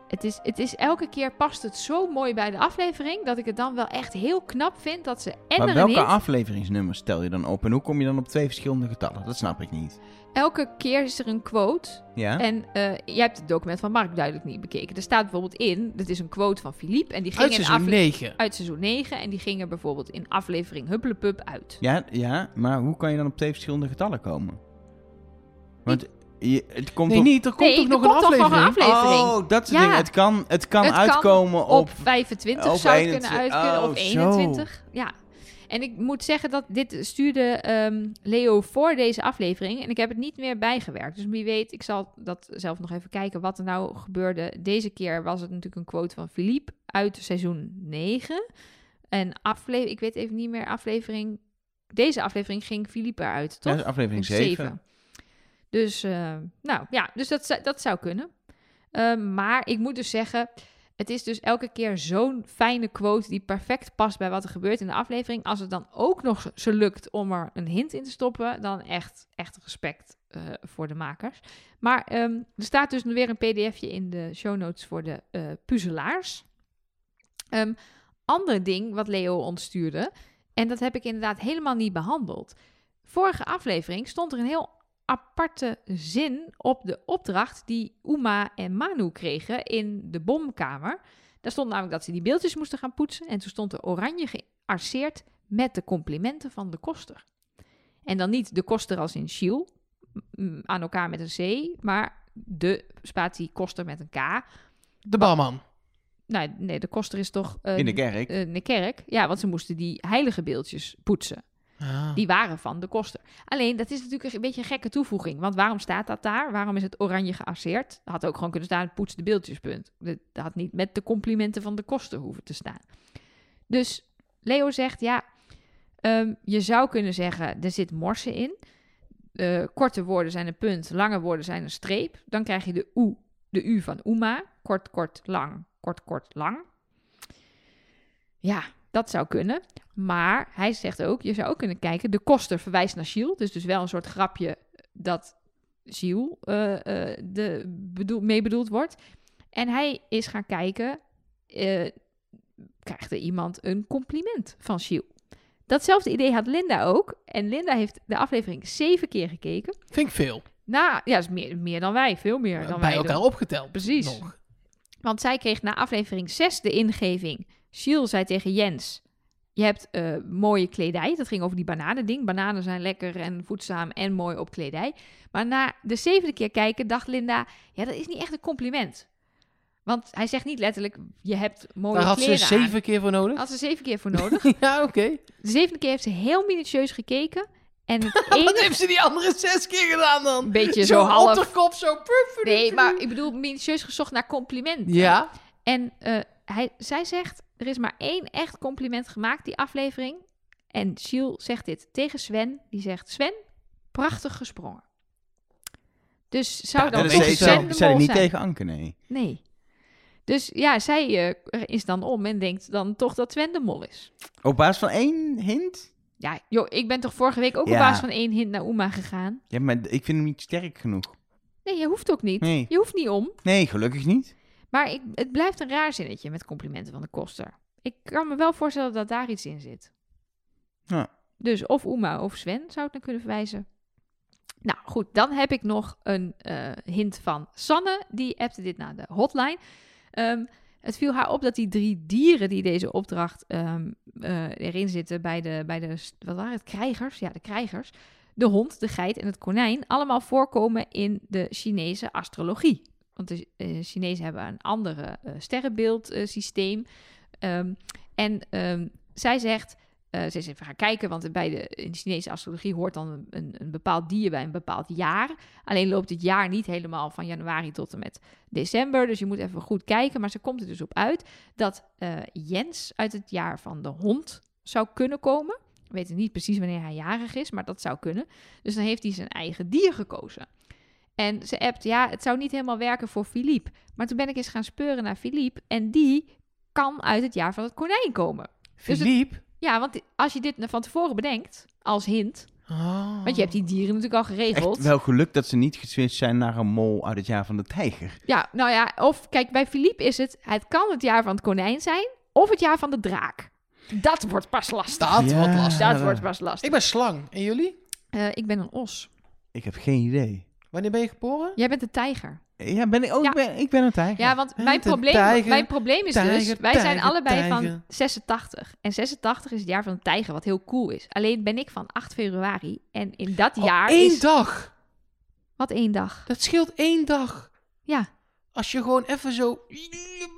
Speaker 2: het is, het is elke keer past het zo mooi bij de aflevering dat ik het dan wel echt heel knap vind dat ze en
Speaker 3: Maar
Speaker 2: er een
Speaker 3: welke
Speaker 2: hint
Speaker 3: afleveringsnummers stel je dan op en hoe kom je dan op twee verschillende getallen? Dat snap ik niet.
Speaker 2: Elke keer is er een quote.
Speaker 3: Ja?
Speaker 2: En eh, jij hebt het document van Mark duidelijk niet bekeken. Er staat bijvoorbeeld in, dat is een quote van Philippe. En die ging
Speaker 1: Uit
Speaker 2: in
Speaker 1: seizoen
Speaker 2: afle-
Speaker 1: 9.
Speaker 2: uit seizoen 9. En die ging er bijvoorbeeld in aflevering Huppelepup uit.
Speaker 3: Ja, ja, maar hoe kan je dan op twee verschillende getallen komen? Want
Speaker 4: je- het komt
Speaker 1: Nee,
Speaker 4: op-
Speaker 1: niet. Er komt
Speaker 2: nee,
Speaker 1: ook
Speaker 2: er
Speaker 1: nog
Speaker 2: komt
Speaker 1: een
Speaker 2: toch
Speaker 1: aflevering.
Speaker 2: nog een aflevering.
Speaker 4: Oh, dat soort
Speaker 2: Ja.
Speaker 4: dingen. Het kan, het kan
Speaker 2: Het kan
Speaker 4: uitkomen
Speaker 2: op
Speaker 4: op...
Speaker 2: 25
Speaker 4: op
Speaker 2: zou het
Speaker 4: 21.
Speaker 2: kunnen uitkunnen,
Speaker 4: Oh,
Speaker 2: of
Speaker 4: zo.
Speaker 2: 21. Ja. En ik moet zeggen dat dit stuurde ehm, Leo voor deze aflevering. En ik heb het niet meer bijgewerkt. Dus wie weet, ik zal dat zelf nog even kijken wat er nou gebeurde. Deze keer was het natuurlijk een quote van Philippe uit seizoen 9. En aflevering, ik weet even niet meer, aflevering... Deze aflevering ging Philippe eruit,
Speaker 4: Ja,
Speaker 2: toch?
Speaker 4: dat is aflevering
Speaker 2: Zeven.
Speaker 4: 7.
Speaker 2: Dus, eh, nou ja, dus dat, zou- dat zou kunnen. Eh, maar ik moet dus zeggen, het is dus elke keer zo'n fijne quote die perfect past bij wat er gebeurt in de aflevering. Als het dan ook nog ze lukt om er een hint in te stoppen, dan echt, echt respect eh, voor de makers. Maar ehm, er staat dus weer een pdfje in de show notes voor de eh, puzzelaars. Ehm ander ding wat Leo ons stuurde, en dat heb ik inderdaad helemaal niet behandeld. Vorige aflevering stond er een heel aparte zin op de opdracht die Uma en Manu kregen in de bomkamer. Daar stond namelijk dat ze die beeldjes moesten gaan poetsen. En toen stond er oranje gearseerd met de complimenten van de koster. En dan niet de koster als in Shiel, m- aan elkaar met een C, maar de spatie koster met een K.
Speaker 1: De barman.
Speaker 2: Nou, nee, de koster is toch... eh,
Speaker 4: In de kerk.
Speaker 2: eh, in de kerk. Ja, want ze moesten die heilige beeldjes poetsen.
Speaker 1: Ah.
Speaker 2: Die waren van de koster. Alleen, dat is natuurlijk een beetje een gekke toevoeging. Want waarom staat dat daar? Waarom is het oranje gearseerd? Dat had ook gewoon kunnen staan, poets de beeldjes, punt. Dat dat had niet met de complimenten van de koster hoeven te staan. Dus Leo zegt, ja, ehm, je zou kunnen zeggen, er zit morsen in. Eh, korte woorden zijn een punt, lange woorden zijn een streep. Dan krijg je de oe, de u van Uma. Kort, kort, lang, kort, kort, lang. Ja, dat zou kunnen. Maar hij zegt ook, je zou ook kunnen kijken, de koster verwijst naar Giel. Dus dus wel een soort grapje dat Giel eh, eh, de bedoel, mee bedoeld wordt. En hij is gaan kijken, eh, krijgt er iemand een compliment van Giel? Datzelfde idee had Linda ook. En Linda heeft de aflevering zeven keer gekeken.
Speaker 1: Ah, Vind ik veel.
Speaker 2: Nou, ja, dat is meer, meer dan wij. Veel meer dan wij.
Speaker 1: Bij elkaar
Speaker 2: doen.
Speaker 1: opgeteld.
Speaker 2: Precies.
Speaker 1: Nog.
Speaker 2: Want zij kreeg na aflevering 6 de ingeving. Giel zei tegen Jens: Je hebt eh, mooie kledij. Dat ging over die bananending. Bananen zijn lekker en voedzaam en mooi op kledij. Maar na de zevende keer kijken dacht Linda: Ja, dat is niet echt een compliment. Want hij zegt niet letterlijk: Je hebt mooie
Speaker 1: Daar had ze
Speaker 2: kleren.
Speaker 1: zeven keer voor
Speaker 2: aan. Oh.
Speaker 1: nodig.
Speaker 2: Had ze zeven keer voor nodig.
Speaker 1: [laughs] ja, oké.
Speaker 2: De zevende keer heeft ze heel minutieus gekeken. En het enige...
Speaker 1: [laughs] Wat heeft ze die andere zes keer gedaan dan?
Speaker 2: Een beetje
Speaker 1: zo
Speaker 2: zo half-
Speaker 1: Otterkop, zo puf.
Speaker 2: Nee, maar ik bedoel, minutieus gezocht naar complimenten.
Speaker 1: Ja.
Speaker 2: En eh, hij, zij zegt, er is maar één echt compliment gemaakt, die aflevering. En Giel zegt dit tegen Sven. Die zegt, Sven, prachtig gesprongen. Dus zou
Speaker 1: Ja,
Speaker 2: dan
Speaker 1: dat
Speaker 2: toch
Speaker 4: zei,
Speaker 1: is ze-
Speaker 2: Sven de
Speaker 4: zei
Speaker 2: mol
Speaker 4: niet
Speaker 2: zijn?
Speaker 4: tegen Anke, nee.
Speaker 2: Nee. Dus ja, zij eh, is dan om en denkt dan toch dat Sven de mol is.
Speaker 4: Op basis van één hint?
Speaker 2: Ja, joh, ik ben toch vorige week ook
Speaker 4: Ja.
Speaker 2: op basis van één hint naar Uma gegaan?
Speaker 4: Ja, maar d- ik vind hem niet sterk genoeg.
Speaker 2: Nee, je hoeft ook niet.
Speaker 4: Nee.
Speaker 2: Je hoeft niet om.
Speaker 4: Nee, gelukkig niet.
Speaker 2: Maar ik, het blijft een raar zinnetje met complimenten van de koster. Ik kan me wel voorstellen dat daar iets in zit.
Speaker 4: Ja.
Speaker 2: Dus of Uma of Sven zou ik naar kunnen verwijzen. Nou goed, dan heb ik nog een eh, hint van Sanne. Die appte dit naar de hotline. Ehm, het viel haar op dat die drie dieren die deze opdracht ehm, eh, erin zitten bij de, bij de, st- wat waren het, krijgers? Ja, de krijgers. De hond, de geit en het konijn allemaal voorkomen in de Chinese astrologie. Want de eh, Chinezen hebben een andere eh, sterrenbeeldsysteem. en ehm, zij zegt, eh, ze is even gaan kijken, want bij de, in de Chinese astrologie hoort dan een, een, een bepaald dier bij een bepaald jaar. Alleen loopt het jaar niet helemaal van januari tot en met december. Dus je moet even goed kijken. Maar ze komt er dus op uit dat eh, Jens uit het jaar van de hond zou kunnen komen. We weten niet precies wanneer hij jarig is, maar dat zou kunnen. Dus dan heeft hij zijn eigen dier gekozen. En ze appt, ja, het zou niet helemaal werken voor Philippe. Maar toen ben ik eens gaan speuren naar Philippe. En die kan uit het jaar van het konijn komen. Dus het-
Speaker 1: Philippe.
Speaker 2: Ja, want als je dit nou van tevoren bedenkt, als hint.
Speaker 1: Oh.
Speaker 2: Want je hebt die dieren natuurlijk al geregeld.
Speaker 4: Echt wel geluk dat ze niet geswitcht zijn naar een mol uit het jaar van de tijger.
Speaker 2: Ja, nou ja, of kijk, bij Philippe is het, het kan het jaar van het konijn zijn, of het jaar van de draak. Dat wordt pas lastig.
Speaker 1: Staat
Speaker 4: Ja.
Speaker 1: wat lastig.
Speaker 2: Dat, wordt pas lastig.
Speaker 1: Ik ben slang. En jullie?
Speaker 2: Eh, ik ben een os.
Speaker 4: Ik heb geen idee.
Speaker 1: Wanneer ben je geboren?
Speaker 2: Jij bent een tijger.
Speaker 4: Ja, ben ik, oh,
Speaker 2: Ja.
Speaker 4: Ik, ben, ik ben een tijger.
Speaker 2: Ja, want mijn
Speaker 1: bent een
Speaker 2: probleem,
Speaker 1: Eh, tijger,
Speaker 2: mijn probleem is dus,
Speaker 1: tijger,
Speaker 2: wij zijn
Speaker 1: tijger,
Speaker 2: allebei
Speaker 1: tijger.
Speaker 2: van 86. En 86 is het jaar van de tijger, wat heel cool is. Alleen ben ik van 8 februari. En in dat
Speaker 1: Oh,
Speaker 2: jaar
Speaker 1: één
Speaker 2: is...
Speaker 1: dag.
Speaker 2: Wat één dag.
Speaker 1: Dat scheelt één dag.
Speaker 2: Ja.
Speaker 1: Als je gewoon even zo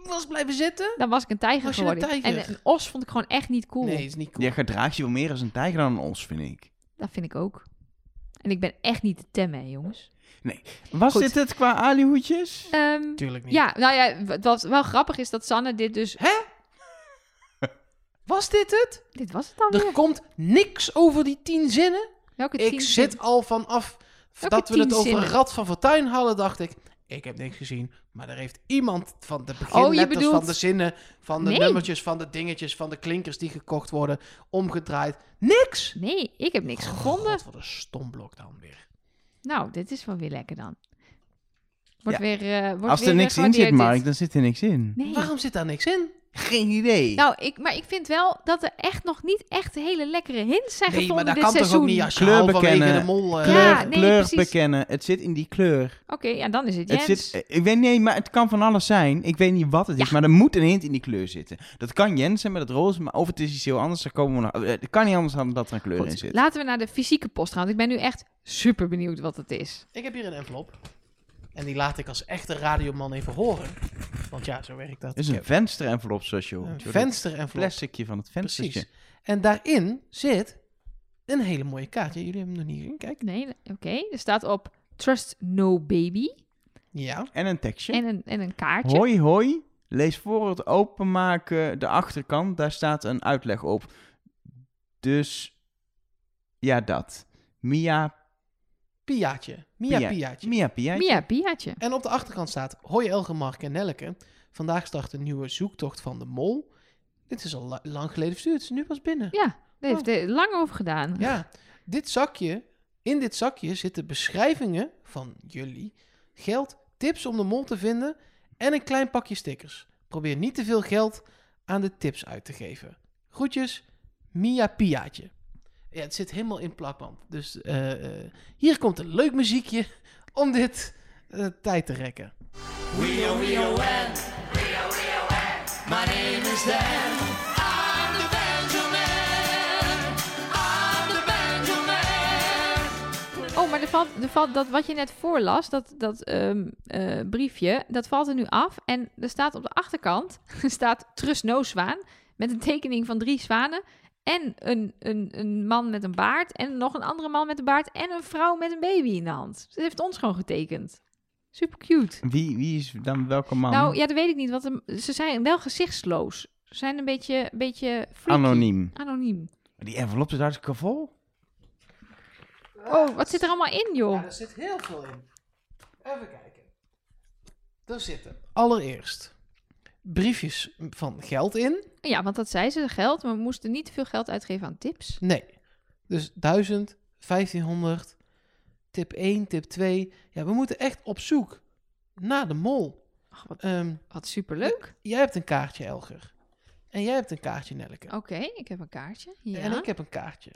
Speaker 1: was blijven zitten.
Speaker 2: Dan was ik een tijger
Speaker 1: Was je een
Speaker 2: geworden.
Speaker 1: tijger?
Speaker 2: En een os vond ik gewoon echt niet cool.
Speaker 1: Nee, is niet cool.
Speaker 3: Jij gedraagt je wel meer als een tijger dan een os, vind ik.
Speaker 2: Dat vind ik ook. En ik ben echt niet te temmen, hè, jongens.
Speaker 3: Was
Speaker 2: Goed.
Speaker 3: dit het qua alihoedjes?
Speaker 2: Ehm,
Speaker 1: Tuurlijk niet.
Speaker 2: ja, nou ja, wat- wat wel grappig is dat Sanne dit dus...
Speaker 1: Was dit het?
Speaker 2: Dit was het dan
Speaker 1: Er
Speaker 2: weer.
Speaker 1: komt niks over die tien zinnen.
Speaker 2: Welke
Speaker 1: Ik
Speaker 2: tien
Speaker 1: zit
Speaker 2: zin-
Speaker 1: al vanaf
Speaker 2: Welke
Speaker 1: dat we het
Speaker 2: tien
Speaker 1: over
Speaker 2: zinnen?
Speaker 1: Rad van Fortuin hadden, dacht ik. Ik heb niks gezien, maar er heeft iemand van de beginletters, van
Speaker 2: Oh, bedoelt-
Speaker 1: de zinnen, van de
Speaker 2: Nee.
Speaker 1: nummertjes, van de dingetjes, van de klinkers die gekocht worden, omgedraaid. Niks!
Speaker 2: Nee, ik heb
Speaker 1: Oh.
Speaker 2: niks gevonden.
Speaker 1: God, wat een stomblok dan weer.
Speaker 2: Nou, dit is wel weer lekker dan. Wordt
Speaker 3: Ja.
Speaker 2: weer... eh, wordt
Speaker 3: Als
Speaker 2: weer
Speaker 3: er niks in zit,
Speaker 2: gewaardeerd, dit.
Speaker 3: Mark, dan zit er niks in.
Speaker 2: Nee.
Speaker 1: Waarom zit daar niks in?
Speaker 3: Geen idee.
Speaker 2: Nou, ik, maar ik vind wel dat er echt nog niet echt hele lekkere hints
Speaker 1: Nee,
Speaker 2: zijn
Speaker 1: maar
Speaker 2: gevonden
Speaker 1: dat
Speaker 2: dit
Speaker 1: kan
Speaker 2: seizoen.
Speaker 1: toch ook niet als je
Speaker 3: Kleur
Speaker 1: al vanwege
Speaker 3: bekennen.
Speaker 1: de mol... eh,
Speaker 3: kleur
Speaker 2: Ja, nee,
Speaker 3: kleur
Speaker 2: precies.
Speaker 3: bekennen. Het zit in die kleur.
Speaker 2: Oké, ja, dan is het Jens.
Speaker 3: Het zit, eh, ik weet niet, maar het kan van alles zijn. Ik weet niet wat het is, maar er moet een hint in die kleur zitten. Dat kan Jens zijn met het roze, maar of het is iets heel anders, daar komen we nog. eh, Het kan niet anders dan dat er een kleur
Speaker 2: Goed,
Speaker 3: in zit.
Speaker 2: laten we naar de fysieke post gaan, want ik ben nu echt super benieuwd wat het is.
Speaker 1: Ik heb hier een envelop. En die laat ik als echte radioman even horen. Want ja, zo werkt dat.
Speaker 3: Het is een vensterenvelop, zoals je hoort.
Speaker 1: Een
Speaker 3: Je hoort het
Speaker 1: vensterenvelop.
Speaker 3: plasticje van het venstertje.
Speaker 1: Precies. En daarin zit een hele mooie kaart. Ja, jullie hebben hem nog niet gezien, kijk.
Speaker 2: Nee, oké. Er staat op Trust No Baby
Speaker 1: Ja.
Speaker 3: En een tekstje.
Speaker 2: en een, en een kaartje.
Speaker 3: Hoi, hoi. Lees voor het openmaken de achterkant. Daar staat een uitleg op. Dus ja, dat. Mia,
Speaker 1: Piaatje. Mia,
Speaker 3: Pia-
Speaker 1: Piaatje.
Speaker 3: Mia Pia.
Speaker 2: Mia Piaatje.
Speaker 1: En op de achterkant staat... Hoi Elge, Mark en Nelleke. Vandaag start een nieuwe zoektocht van de mol. Dit is al la- lang geleden verstuurd. Het is nu pas binnen.
Speaker 2: Ja, daar heeft hij lang over gedaan.
Speaker 1: Ja, dit zakje, in dit zakje zitten beschrijvingen van jullie, geld, tips om de mol te vinden en een klein pakje stickers. Probeer niet te veel geld aan de tips uit te geven. Groetjes, Mia Piaatje. Ja, het zit helemaal in plakband. Dus eh, eh, hier komt een leuk muziekje om dit eh, tijd te rekken.
Speaker 2: Oh, maar er valt, er valt dat wat je net voorlas, dat, dat ehm, eh, briefje, dat valt er nu af. En er staat op de achterkant, [laughs] er staat Trust No Zwaan, met een tekening van drie zwanen. En een, een, een man met een baard, en nog een andere man met een baard, en een vrouw met een baby in de hand. Ze heeft ons gewoon getekend. Super cute.
Speaker 3: Wie, wie is dan welke man?
Speaker 2: Nou, ja, dat weet ik niet, want er- ze zijn wel gezichtsloos. Ze zijn een beetje, een beetje freaky.
Speaker 3: Anoniem.
Speaker 2: Anoniem.
Speaker 3: Die envelop zit hartstikke vol.
Speaker 2: Oh, wat zit er allemaal in, joh?
Speaker 1: Ja, er zit heel veel in. Even kijken. Er zitten allereerst briefjes van geld in.
Speaker 2: Ja, want dat zei ze, geld. Maar we moesten niet te veel geld uitgeven aan tips.
Speaker 1: Nee. Dus 1000, 1500, tip 1, tip 2. Ja, we moeten echt op zoek naar de mol.
Speaker 2: Ach, wat,
Speaker 1: Ehm,
Speaker 2: wat superleuk.
Speaker 1: jij hebt een kaartje, Elger. En jij hebt een kaartje, Nelke.
Speaker 2: Oké, ik heb een kaartje. Oh, Ja.
Speaker 1: En ik heb een kaartje.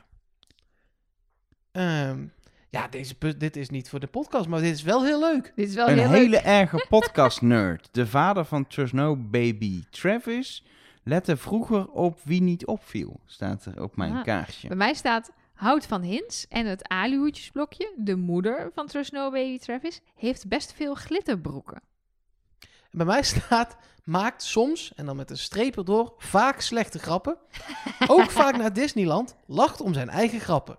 Speaker 1: Ehm, ja, deze, pu- dit is niet voor de podcast, maar dit is wel heel leuk.
Speaker 2: Dit is wel
Speaker 3: een
Speaker 2: Oh, heel
Speaker 3: hele
Speaker 2: leuk. [laughs]
Speaker 3: erge podcast-nerd. De vader van Trust No Baby Travis lette vroeger op wie niet opviel. Staat er op mijn
Speaker 2: Ah.
Speaker 3: kaartje.
Speaker 2: Bij mij staat Hout van Hins en het alihoedjesblokje, de moeder van Trust No Baby Travis, heeft best veel glitterbroeken.
Speaker 1: En bij mij staat, maakt soms, en dan met een streep erdoor, vaak slechte grappen. [laughs] Ook vaak naar Disneyland, lacht om zijn eigen grappen.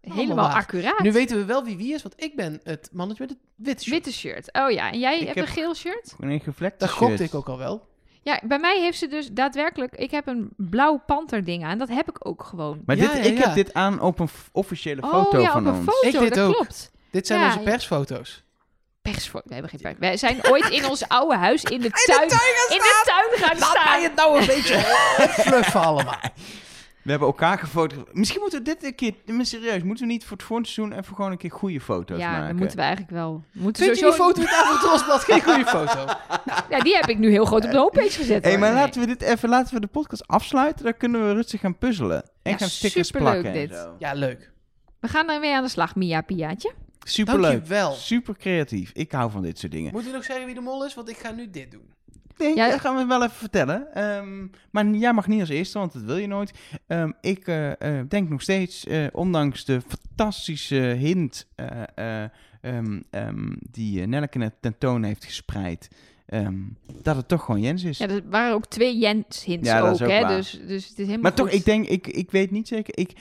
Speaker 2: Helemaal
Speaker 1: Allemaal waar.
Speaker 2: accuraat.
Speaker 1: Nu weten we wel wie wie is, want ik ben het mannetje met het witte shirt.
Speaker 2: Witte shirt. Oh ja, en jij
Speaker 3: Ik
Speaker 2: hebt
Speaker 3: heb-
Speaker 2: een geel shirt?
Speaker 3: Een gevlekte
Speaker 1: Dat gokte
Speaker 3: shirt.
Speaker 1: ik ook al wel.
Speaker 2: Ja, bij mij heeft ze dus daadwerkelijk... Ik heb een blauw panter ding aan. Dat heb ik ook gewoon.
Speaker 3: Maar
Speaker 1: Ja,
Speaker 3: dit,
Speaker 1: ja,
Speaker 3: ik
Speaker 1: ja.
Speaker 3: heb dit aan op een f- officiële foto
Speaker 2: oh ja,
Speaker 3: van
Speaker 2: op een
Speaker 3: ons.
Speaker 2: foto.
Speaker 1: Ik dit
Speaker 2: dat
Speaker 1: ook.
Speaker 2: klopt.
Speaker 1: Dit zijn
Speaker 2: Ja,
Speaker 1: onze
Speaker 2: ja.
Speaker 1: [laughs] persfoto's.
Speaker 2: Persfoto. We hebben geen pers. Wij zijn ooit in ons oude huis
Speaker 1: [laughs]
Speaker 2: in de tuin, in de tuin gaan staan.
Speaker 1: nou een beetje [laughs] fluffen allemaal.
Speaker 3: We hebben elkaar gefotografeerd. Misschien moeten we dit een keer, maar serieus, moeten we niet voor het volgende seizoen even gewoon een keer goede foto's
Speaker 2: ja,
Speaker 3: maken?
Speaker 2: dan moeten we eigenlijk wel. we Moeten
Speaker 1: Vind je die
Speaker 2: sowieso-
Speaker 1: foto met Avondrosblad geen goede foto?
Speaker 2: Ja, die heb ik nu heel groot op de homepage gezet.
Speaker 3: Hé,
Speaker 2: hoor.
Speaker 3: maar
Speaker 2: Nee.
Speaker 3: laten we dit even, laten we de podcast afsluiten. Dan kunnen we rustig gaan puzzelen. En
Speaker 2: Ja,
Speaker 3: gaan stickers
Speaker 2: superleuk
Speaker 3: plakken. en
Speaker 2: dit.
Speaker 3: zo.
Speaker 1: Ja, leuk.
Speaker 2: We gaan er weer aan de slag, Mia Piaatje.
Speaker 3: Superleuk.
Speaker 1: Dankjewel.
Speaker 3: Super creatief. Ik hou van dit soort dingen.
Speaker 1: Moeten we nog zeggen wie de mol is? Want ik ga nu dit doen.
Speaker 3: Nee,
Speaker 2: Ja.
Speaker 3: dat eh, gaan we wel even vertellen. Ehm, maar jij mag niet als eerste, want dat wil je nooit. Ehm, ik eh, eh, denk nog steeds, eh, ondanks de fantastische hint eh, eh, um, um, die uh, Nelleke tentoon heeft gespreid. Um, dat het toch gewoon Jens is.
Speaker 2: Ja, er waren ook twee Jens-hints ja, ook, ook, hè? Waar. Dus, dus het is helemaal
Speaker 3: Maar
Speaker 2: goed.
Speaker 3: toch, ik denk, ik, ik weet niet zeker. Ik,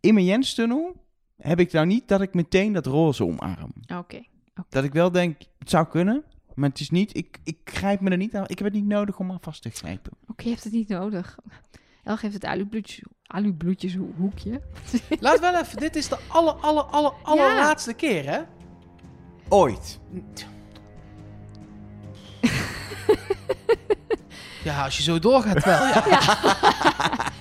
Speaker 3: in mijn Jens-tunnel heb ik nou niet dat ik meteen dat roze omarm.
Speaker 2: Oké. Okay. Okay.
Speaker 3: Dat ik wel denk, het zou kunnen, maar het is niet, ik, ik grijp me er niet aan. Ik heb het niet nodig om aan vast te grijpen.
Speaker 2: Oké, okay, je hebt het niet nodig. El geeft het alubloedjes, alubloedjes hoekje.
Speaker 1: Laat wel even, dit is de aller, aller, aller, allerlaatste ja. keer, hè?
Speaker 3: Ooit.
Speaker 1: [laughs] ja, als je zo doorgaat wel, ja. ja.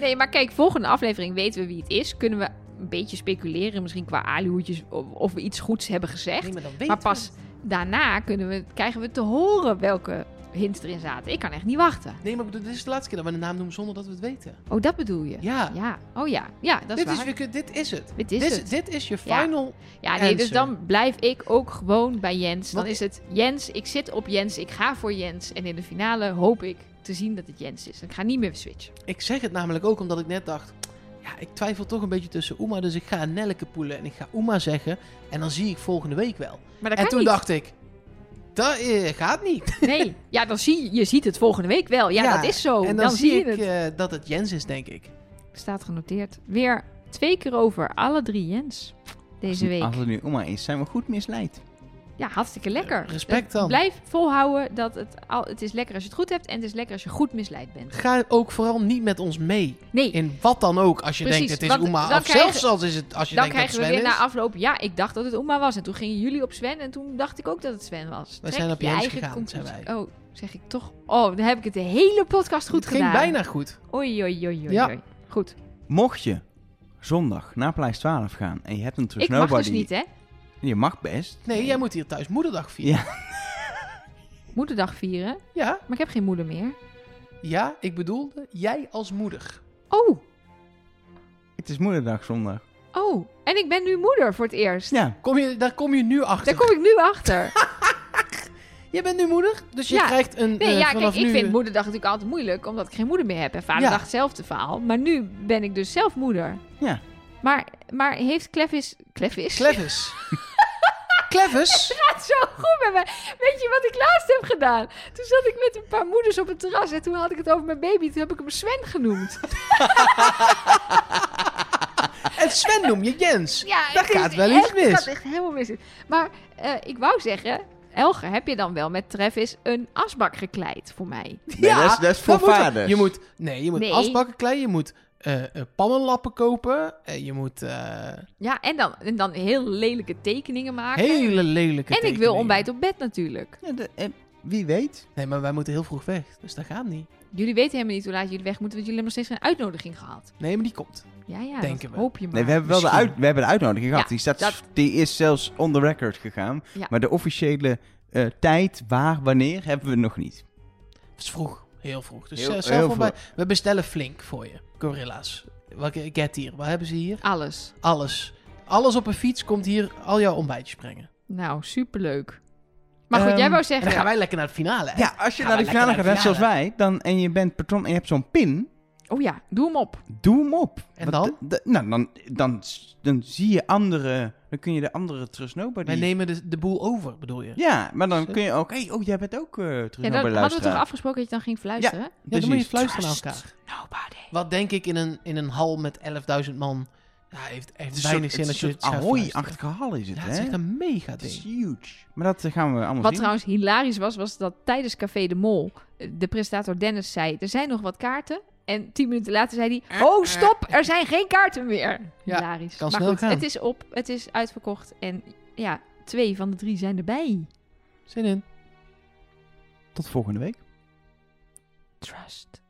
Speaker 2: nee, maar kijk, volgende aflevering weten we wie het is. Kunnen we een beetje speculeren, misschien qua alihoedjes, of, of we iets goeds hebben gezegd.
Speaker 1: Nee, maar,
Speaker 2: maar, pas we. daarna kunnen we, krijgen we te horen welke hints erin zaten. Ik kan echt niet wachten.
Speaker 1: Nee, maar dit is de laatste keer dat we een naam noemen zonder dat we het weten.
Speaker 2: Oh, dat bedoel je?
Speaker 1: Ja.
Speaker 2: ja. Oh ja, ja dat
Speaker 1: dit
Speaker 2: is waar.
Speaker 1: Is, we, dit is het.
Speaker 2: Dit is
Speaker 1: dit,
Speaker 2: het.
Speaker 1: Dit is je final
Speaker 2: Ja, ja nee, dus dan blijf ik ook gewoon bij Jens. Dan Wat? is het Jens, ik zit op Jens, ik ga voor Jens. En in de finale hoop ik te zien dat het Jens is. Ik ga niet meer switchen.
Speaker 1: Ik zeg het namelijk ook omdat ik net dacht... Ja, ik twijfel toch een beetje tussen Oema. Dus ik ga Nelleke poelen en ik ga Oema zeggen. En dan zie ik volgende week wel.
Speaker 2: Maar dat
Speaker 1: en
Speaker 2: kan
Speaker 1: toen
Speaker 2: niet.
Speaker 1: dacht ik, dat uh, gaat niet.
Speaker 2: Nee, ja, dan zie je, je ziet het volgende week wel. Ja, ja dat is
Speaker 1: En
Speaker 2: zo.
Speaker 1: dan,
Speaker 2: Oh, dan
Speaker 1: zie
Speaker 2: je
Speaker 1: ik
Speaker 2: het.
Speaker 1: Uh, dat het Jens is, denk ik.
Speaker 2: Staat genoteerd. Weer twee keer over, alle drie Jens deze week.
Speaker 3: Als het nu Oma oh, is, zijn we goed misleid.
Speaker 2: Ja, hartstikke lekker. Eh,
Speaker 1: Respect dan.
Speaker 2: Blijf volhouden dat het al, het is lekker als je het goed hebt en het is lekker als je goed misleid bent.
Speaker 1: Ga ook vooral niet met ons mee.
Speaker 2: Nee.
Speaker 1: In wat dan ook, als je
Speaker 2: Precies,
Speaker 1: denkt het
Speaker 2: want
Speaker 1: is Oema.
Speaker 2: dan
Speaker 1: Of
Speaker 2: krijgen-
Speaker 1: zelfs als, is het, als je
Speaker 2: Dan
Speaker 1: denkt dat
Speaker 2: krijgen
Speaker 1: Sven
Speaker 2: we weer
Speaker 1: is.
Speaker 2: na afloop, ja, ik dacht dat het Oma was. En toen gingen jullie op Sven en toen dacht ik ook dat het Sven was.
Speaker 1: Wij
Speaker 2: Trek
Speaker 1: zijn op
Speaker 2: je
Speaker 1: Jens
Speaker 2: eigen
Speaker 1: gegaan,
Speaker 2: conclusie.
Speaker 1: zijn wij.
Speaker 2: Oh, zeg ik toch. Oh, dan heb ik het de hele podcast goed
Speaker 1: het ging
Speaker 2: gedaan.
Speaker 1: bijna goed.
Speaker 2: Oei, oei, oei, oei.
Speaker 1: Ja.
Speaker 2: oei. Goed.
Speaker 3: Mocht je zondag naar Pleis 12 gaan en je hebt een Trust
Speaker 2: ik mag
Speaker 3: Nobody...
Speaker 2: dus niet, hè?
Speaker 3: Je mag best.
Speaker 1: Nee, jij moet hier thuis moederdag vieren.
Speaker 3: Ja.
Speaker 2: Moederdag vieren,
Speaker 1: Ja,
Speaker 2: maar ik heb geen moeder meer.
Speaker 1: ja, ik bedoelde jij als moeder.
Speaker 2: Oh,
Speaker 3: Het is moederdag zondag. Dus
Speaker 2: oh. En ik ben nu moeder voor het eerst.
Speaker 3: Ja.
Speaker 1: Kom je, daar kom je nu achter.
Speaker 2: Daar kom ik nu achter.
Speaker 1: Je bent nu moeder, dus je
Speaker 2: Ja.
Speaker 1: krijgt een
Speaker 2: [laughs] Nee,
Speaker 1: eh,
Speaker 2: ja,
Speaker 1: vanaf
Speaker 2: kijk, ik
Speaker 1: nu...
Speaker 2: vind moederdag natuurlijk altijd moeilijk, omdat ik geen moeder meer heb. En vaderdag
Speaker 1: Ja.
Speaker 2: hetzelfde verhaal. Maar nu ben ik dus zelf moeder.
Speaker 3: Ja.
Speaker 2: Maar, maar heeft Clevis... Clevis? [laughs]
Speaker 1: Clevis. Clevis?
Speaker 2: gaat zo goed met mij. Weet je wat ik laatst heb gedaan? Toen zat ik met een paar moeders op het terras en toen had ik het over mijn baby. Toen heb ik hem Sven
Speaker 1: [laughs]
Speaker 2: genoemd.
Speaker 1: En Sven noem je Jens.
Speaker 2: Ja,
Speaker 1: Daar
Speaker 2: ik wist
Speaker 1: gaat wel iets
Speaker 2: echt- Dat
Speaker 1: mis.
Speaker 2: gaat echt helemaal mis. Maar eh, ik wou zeggen, Elger, heb je dan wel met Travis een asbak gekleid voor mij?
Speaker 3: Nee, dat is, dat is voor
Speaker 1: dat moet wel.
Speaker 3: vaders.
Speaker 1: Je moet, nee, je moet
Speaker 2: Nee.
Speaker 1: asbakken klei, je moet eh, eh, pannenlappen kopen, eh, je moet eh,
Speaker 2: Ja, en dan, en dan heel lelijke tekeningen maken.
Speaker 1: hele lelijke
Speaker 2: en ik wil
Speaker 1: tekeningen.
Speaker 2: ontbijt op bed natuurlijk.
Speaker 3: Ja, de- eh, wie weet.
Speaker 1: Nee, maar wij moeten heel vroeg weg, dus dat gaat niet.
Speaker 2: Jullie weten helemaal niet hoe laat jullie weg moeten, want jullie hebben nog steeds geen uitnodiging gehad.
Speaker 1: Nee, maar die komt.
Speaker 2: Ja, ja,
Speaker 1: Denken
Speaker 2: dat
Speaker 1: we.
Speaker 2: hoop je maar.
Speaker 3: Nee, we hebben wel de,
Speaker 1: Misschien.
Speaker 3: uit, we hebben de uitnodiging gehad.
Speaker 2: Ja,
Speaker 3: die, staat,
Speaker 2: dat-
Speaker 3: die is zelfs on the record gegaan.
Speaker 2: Ja.
Speaker 3: Maar de officiële eh, tijd, waar, wanneer, hebben we nog niet.
Speaker 1: Het is vroeg, heel vroeg. Dus
Speaker 3: Heel-
Speaker 1: eh,
Speaker 3: heel
Speaker 1: zelf al bij, we bestellen flink voor je, gorilla's. Wat get hier? Wat hebben ze hier?
Speaker 2: Alles.
Speaker 1: Alles. Alles op een fiets komt hier al jouw ontbijtjes brengen.
Speaker 2: Nou, superleuk. Maar goed,
Speaker 3: Ehm,
Speaker 2: jij wou
Speaker 1: En dan gaan
Speaker 2: zeggen...
Speaker 1: wij lekker naar de finale. hè?
Speaker 3: Ja, als je
Speaker 1: Gaan
Speaker 3: naar
Speaker 1: we
Speaker 3: de
Speaker 1: lekker
Speaker 3: finale gaat,
Speaker 1: naar
Speaker 3: net
Speaker 1: de
Speaker 3: zoals
Speaker 1: finale.
Speaker 3: wij, dan, en je bent patron en je hebt zo'n pin,
Speaker 2: Oh ja, doe hem op.
Speaker 3: doe hem op.
Speaker 1: En
Speaker 3: Want
Speaker 1: dan?
Speaker 3: d- d- nou, dan, dan, s- dan zie je andere, dan kun je de andere Trust Nobody...
Speaker 1: Wij nemen de, de boel over, bedoel je?
Speaker 3: Ja, maar dan kun je ook, hey, oh, jij bent ook eh Trust Nobody
Speaker 2: Ja, dan hadden we toch
Speaker 3: luisteraar.
Speaker 2: afgesproken dat je dan ging fluisteren?
Speaker 1: Ja, dan moet je
Speaker 3: Precies.
Speaker 1: fluisteren aan
Speaker 3: Trust
Speaker 1: elkaar.
Speaker 2: Nobody.
Speaker 1: Wat denk ik in een, in een hal met 11.000 man. Ja, heeft,
Speaker 3: Het
Speaker 1: heeft
Speaker 3: is
Speaker 1: weinig
Speaker 3: een
Speaker 1: zin als je
Speaker 3: soort
Speaker 1: het gaat
Speaker 3: Ahoy-achtig gehaal is het,
Speaker 1: Ja,
Speaker 3: hè?
Speaker 1: het is echt een mega
Speaker 3: Het is
Speaker 1: ding.
Speaker 3: huge. Maar dat eh, gaan we allemaal
Speaker 2: Wat
Speaker 3: zien.
Speaker 2: trouwens hilarisch was, was dat tijdens Café de Mol eh, de presentator Dennis zei... Er zijn nog wat kaarten. En tien minuten later zei hij... Oh, stop, er zijn geen kaarten meer.
Speaker 1: Eh, Ja,
Speaker 2: hilarisch.
Speaker 1: kan
Speaker 2: maar
Speaker 1: snel
Speaker 2: goed,
Speaker 1: gaan.
Speaker 2: het is op, het is uitverkocht. En ja, twee van de drie zijn erbij.
Speaker 1: Zin in.
Speaker 3: Tot volgende week.
Speaker 2: Trust